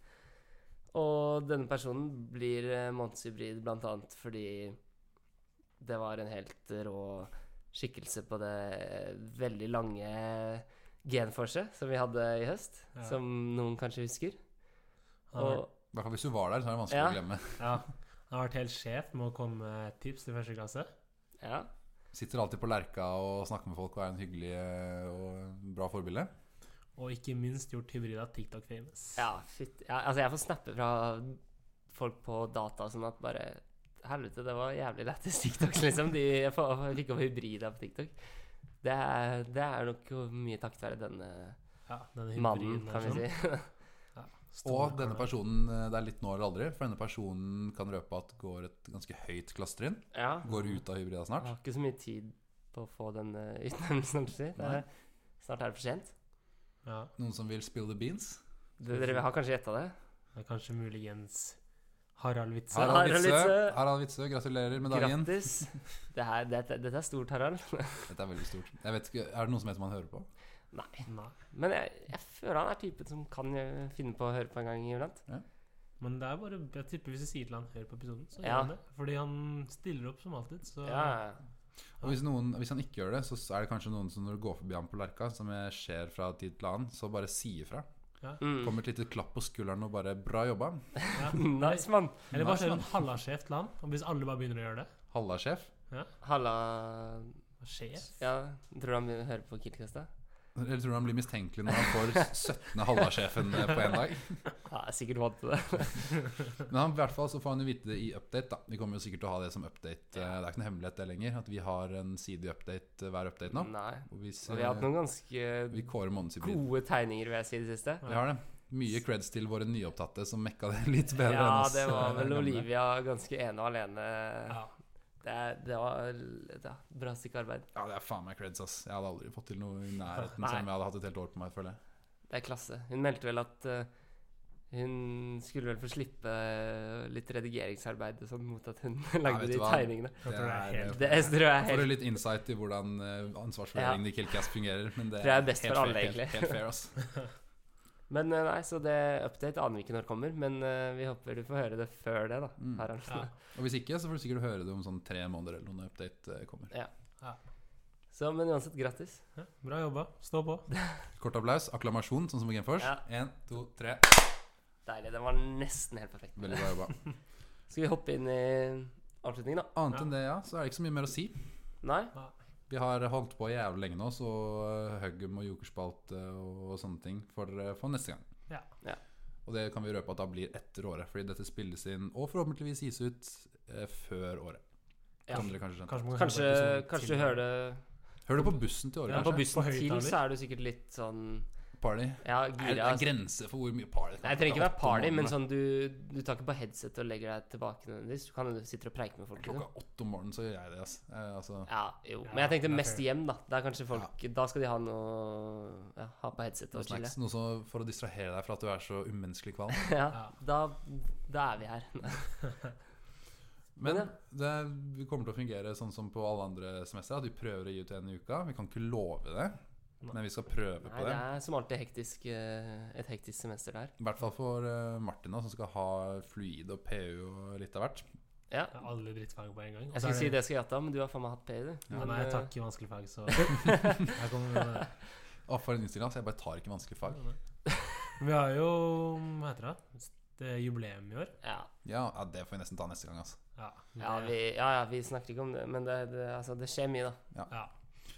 Og denne personen blir eh, månedshybrid blant annet fordi det var en helt rå skikkelse på det eh, veldig lange genforset som vi hadde i høst,
Ja.
som noen kanskje husker.
Han har,
Og,
I hvert fall hvis du var der, så er det vanskelig
Ja.
å glemme.
vært- ja, han har vært helt sjef med å komme med tips til første klasse.
ja,
Sitter alltid på lerka og snakker med folk og er en hyggelig eh, og bra forbilde.
Og ikke minst gjort hybrida TikTok-famous.
Ja, fytt. Ja, altså, jeg får snappe fra folk på data sånn at bare Helvete, det var jævlig lættis TikToks, *laughs* liksom. De jeg får- jeg fikk opp hybrida på TikTok. Det er, det er nok jo mye takket være denne
Ja, denne hybriden
mannen,
er
kan vi
sånn.
si.
*laughs* Stor-
Og denne personen, eh, det er litt nå eller aldri, for denne personen kan røpe at går et ganske høyt klassetrinn.
Ja.
Går ut av hybrida
Jeg
snart.
har ikke så mye tid på å få den eh, *laughs* utnevnelsen, holdt jeg på å si. Det er- Snart er det for sent.
Ja,
Noen som vil spill the beans?
Det- Dere har kanskje gjetta det?
det er kanskje muligens Harald Witze.
Harald.
Harald Witzøe,
Witzøe.
Harald Witzøe, gratulerer med dagen.
eh, Grattis. Det her, dette, dette er stort, Harald.
Dette er veldig stort. Jeg vet ikke, Er det noen som heter man hører på?
Nei.
Nei.
Men jeg, jeg føler han er typen som kan eh, finne på å høre på en gang iblant.
Men det er bare jeg tipper hvis jeg sier til han hør på episoden, så gjør
Ja.
han det. Fordi han stiller opp som alltid, så
Ja, ja.
Og hvis, noen, hvis han ikke gjør det, så er det kanskje noen som når du går forbi ham på Lerka, som jeg ser fra tid til annen, så bare sier fra.
Mm.
Kommer et lite klapp på skulderen og bare 'bra jobba'.
ja.
*laughs* Nice, mann.
Eller bare
Nice,
kjør
man.
sånn.
en hallasjef til han, og hvis alle bare begynner å gjøre det.
Halla, sjef.
Halla
Hva skjer?
Ja, tror du han begynner å høre på Kiltkast, da?
Eller tror du han blir mistenkelig når han
*laughs*
får 17. halla-sjefen på én dag?
Ja, jeg er sikkert vant til det.
Men han, i hvert fall så får han jo vite det i update. da Vi kommer jo sikkert til å ha det som update. Eh, Det er ikke noe hemmelighet det lenger, at vi har en side i update eh, hver update nå.
Nei.
Og hvis,
Mm. Og vi har hatt
eh,
noen ganske
vi kårer månedshybrid.
gode tegninger, vil jeg si, i det siste.
Ja.
Vi har det. Mye creds til våre nyopptatte som mekka det *laughs* litt bedre enn
Ja,
oss.
det var
eh, *laughs*
vel
gamle.
Olivia ganske ene og alene.
Ja.
Det, er- det var et ja, bra stykke arbeid.
Ja, det er faen meg creds, ass. Jeg hadde aldri fått til noe i nærheten
Nei.
selv om jeg hadde hatt et helt år på meg, føler jeg.
Det er klasse. Hun meldte vel at eh, hun skulle vel få slippe eh, litt redigeringsarbeid og sånn, mot at hun *laughs* lagde
vet du
de
hva?
tegningene.
Jeg tror det er helt
Det tror jeg er
eh, Får
helt
du litt insight i hvordan eh, ansvarsfordelingen i Killcast fungerer? Men det
Tror jeg er best
helt
for alle,
fair,
egentlig.
Helt, helt fair, ass.
Men eh, nei, så det update aner vi ikke når det kommer, men eh, vi håper du får høre det før det, da,
Mm.
Harald.
Ja.
Og hvis ikke, så får du sikkert høre det om sånn tre måneder eller noe når update eh, kommer.
Så, men uansett, grattis.
Ja, Bra jobba. Stå på.
Kort applaus, akklamasjon, sånn som på Gameforce.
Ja.
Én, to, tre.
Deilig. Den var nesten helt perfekt.
Veldig bra jobba.
Skal vi hoppe inn i avslutningen, da?
Annet enn det, ja, så er det ikke så mye mer å si.
Nei?
Vi har holdt på jævlig lenge nå, så eh, Huggum og Jokerspalt eh, og sånne ting for, eh, for neste gang.
Ja.
Ja.
Og det kan vi røpe at da blir etter året, fordi dette spilles inn og forhåpentligvis gis ut eh, før året.
Ja.
Som dere kanskje skjønte.
man kan
Kanskje,
høre på episoden
kanskje du
til.
hører det
Hør det på bussen til året,
Ja,
På
kanskje.
bussen
På
til,
høyttaler.
så er du sikkert litt sånn
Party.
Ja,
Er det
gira. altså.
en grense for hvor mye party
Nei, jeg trenger ikke være party, men
sånn
sånn du, du tar ikke på headset og legger deg tilbake nødvendigvis. Du kan hende du sitter og preiker med folk. Liksom.
Klokka åtte om morgenen så gjør jeg det, ass. Eh, altså.
Ja, jo.
Ja,
Men jeg tenkte
det er
mest
fair.
hjem, da. Der kanskje folk Da skal de ha noe ja, ha på headset
Noe
og chille.
snacks, noe som, for å distrahere deg fra at du er så umenneskelig kvalm.
Ja,
Ja.
da, da er vi her.
Men
Men
det vi kommer til å fungere sånn som på alle andre semestre, at vi prøver å gi ut en i uka. Vi kan ikke love det,
Nei.
men vi skal prøve
Nei,
på
det
det.
er som alltid hektisk, eh, et hektisk semester der.
I hvert fall for eh, Martin, da, som skal ha fluid og PU og litt av hvert.
Ja.
Ja, Alle drittfag på en gang. Og
Jeg
så er
skulle si det skal jeg gjette, men du har faen meg hatt PI, du.
Ja,
Men,
nei,
eh,
takk i vanskelige fag,
*laughs*
så Jeg kommer med det.
Å, for en innstilling, altså. Jeg bare tar ikke vanskelige fag.
Vi har jo Hva heter det? Det er jubileum i år.
Ja,
Ja, ja, det får vi nesten ta neste gang, altså.
Ja.
ja, vi, ja, ja, vi snakker ikke om det, men det, det, altså, det skjer mye, da.
ja.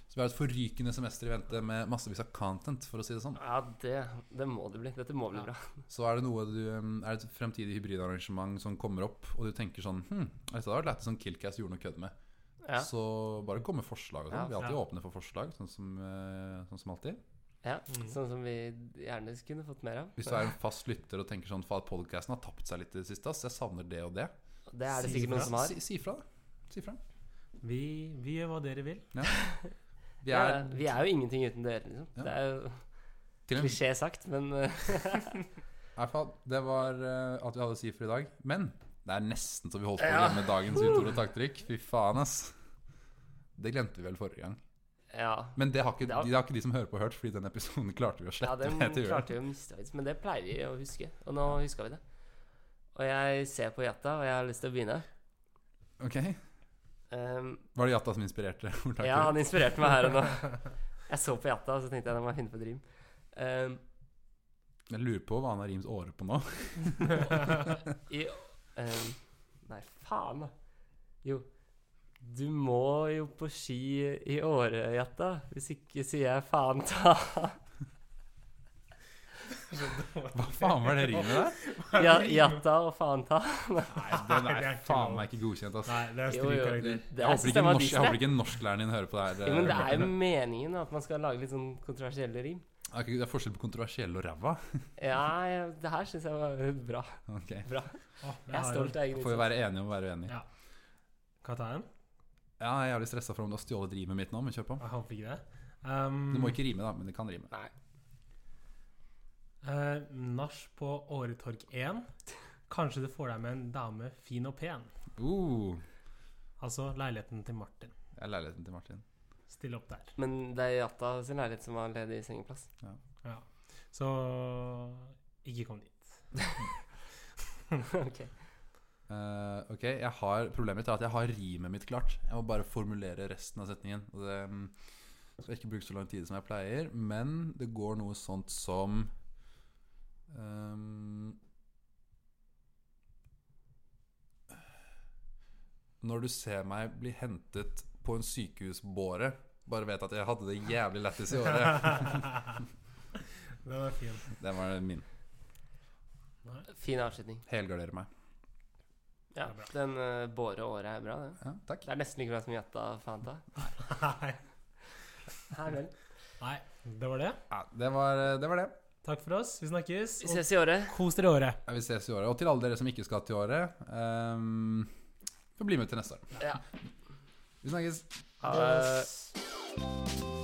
Så vi har et forrykende semester i vente med massevis av content, for å si det sånn.
Ja, det, det må det bli. Dette må bli
Ja.
bra.
Så er det noe du um, Er det et fremtidig hybridarrangement som kommer opp, og du tenker sånn Hm, dette hadde vært lættis om Killcast gjorde noe kødd med.
Ja.
Så bare kom med forslag og sånn.
Ja.
Vi er alltid
Ja.
åpne for forslag, sånn som, eh, sånn som alltid.
ja.
Mm.
Sånn som vi gjerne kunne fått mer av.
Hvis du er en fast lytter og tenker sånn Faen, podcasten har tapt seg litt i det siste, ass. Jeg savner det og det.
Det er det
Si
sikkert noen
fra.
som har.
Si, si fra, da. Si fra.
Vi, vi gjør hva dere
*laughs*
vil.
Vi er
ja, vi er jo ingenting uten dere, liksom.
Ja.
Det er jo
til en
klisjé sagt, men eh,
I hvert fall, det var eh, alt vi hadde å si for i dag. Men det er nesten så vi holdt på å
Ja.
glemme dagens utord og taktrykk. Fy faen, ass. Det glemte vi vel forrige gang.
Ja.
Men det har, ikke,
Det har-
de, det har ikke de som hører på, hørt, fordi den episoden klarte vi å
Ja,
slette. *laughs*
den
etter jul.
klarte vi å miste, faktisk, men det pleier vi å huske. Og nå huska vi det. Og jeg ser på Jata, og jeg har lyst til å begynne.
Ok,
Ehm,
Var det Jatta som inspirerte? *laughs* ordtaket?
ja, han inspirerte meg
*laughs*
her og nå. Jeg så på Jata, og så tenkte jeg nå må jeg finne på et rim.
*laughs*
Ehm,
Jeg lurer på hva han har rims åre på nå.
i, ehm, nei, faen, da. Jo. Du må jo på ski i året, Jata. Hvis ikke sier jeg faen ta.
Hva faen var det rimet der?
Ja, Jata og faen ta.
*laughs* Nei, Den
det
er
er ikke
faen
lov.
meg ikke godkjent, ass.
Nei, det er
Jo, jo,
strykkarakter.
det
Jeg
er
håper ikke,
stemma
norsk,
ditt,
jeg håper
det.
ikke norsklæreren din hører på det her.
Jo, Men det er jo
*laughs* Morten.
meningen at man skal lage litt sånn kontroversielle rim.
Er ikke- det er forskjell på kontroversiell og ræva. *laughs*
Ja, ja, det her syns jeg var bra.
Ok.
Å, det
Jeg er
har
stolt av egen
Får jo
innsats.
være enige om å være uenige.
Ja. Hva tar jeg den?
Ja, jeg er jævlig stressa for om du har stjålet rimet mitt nå, men kjør på.
Jeg håper ikke det. Um,
Mm.
Du må ikke rime, da, men det kan rime.
eh, Nach på Åretorg 1. Kanskje du får deg med en dame fin og pen.
Uh,
Altså leiligheten til Martin.
jeg er leiligheten til Martin.
Stille opp der.
Men det er Jata sin leilighet som har ledig sengeplass.
Ja. Så ikke kom dit.
ok.
Eh, ok, jeg har Problemet mitt er at jeg har rimet mitt klart. Jeg må bare formulere resten av setningen. Og det mm, skal ikke bruke så lang tid som jeg pleier, men det går noe sånt som ehm, Når du ser meg bli hentet på en sykehusbåre, bare vet at jeg hadde det jævlig lættis i året. *laughs*
*laughs* Den er fin.
Den var min.
Fin avslutning.
Helgardere meg.
Ja,
Det
Den uh, båre året er bra, det.
Ja, takk.
Det er nesten like bra som Jata Fanta.
Nei.
Her vel.
Nei, det var det.
Ja, det, var, eh, det var det.
Takk for oss. Vi snakkes.
Vi
Og
ses i året.
kos dere i året.
Ja, Vi ses i året. Og til alle dere som ikke skal til året, um, bli med til neste år.
Ja.
Vi snakkes.
Ha det.
Yes.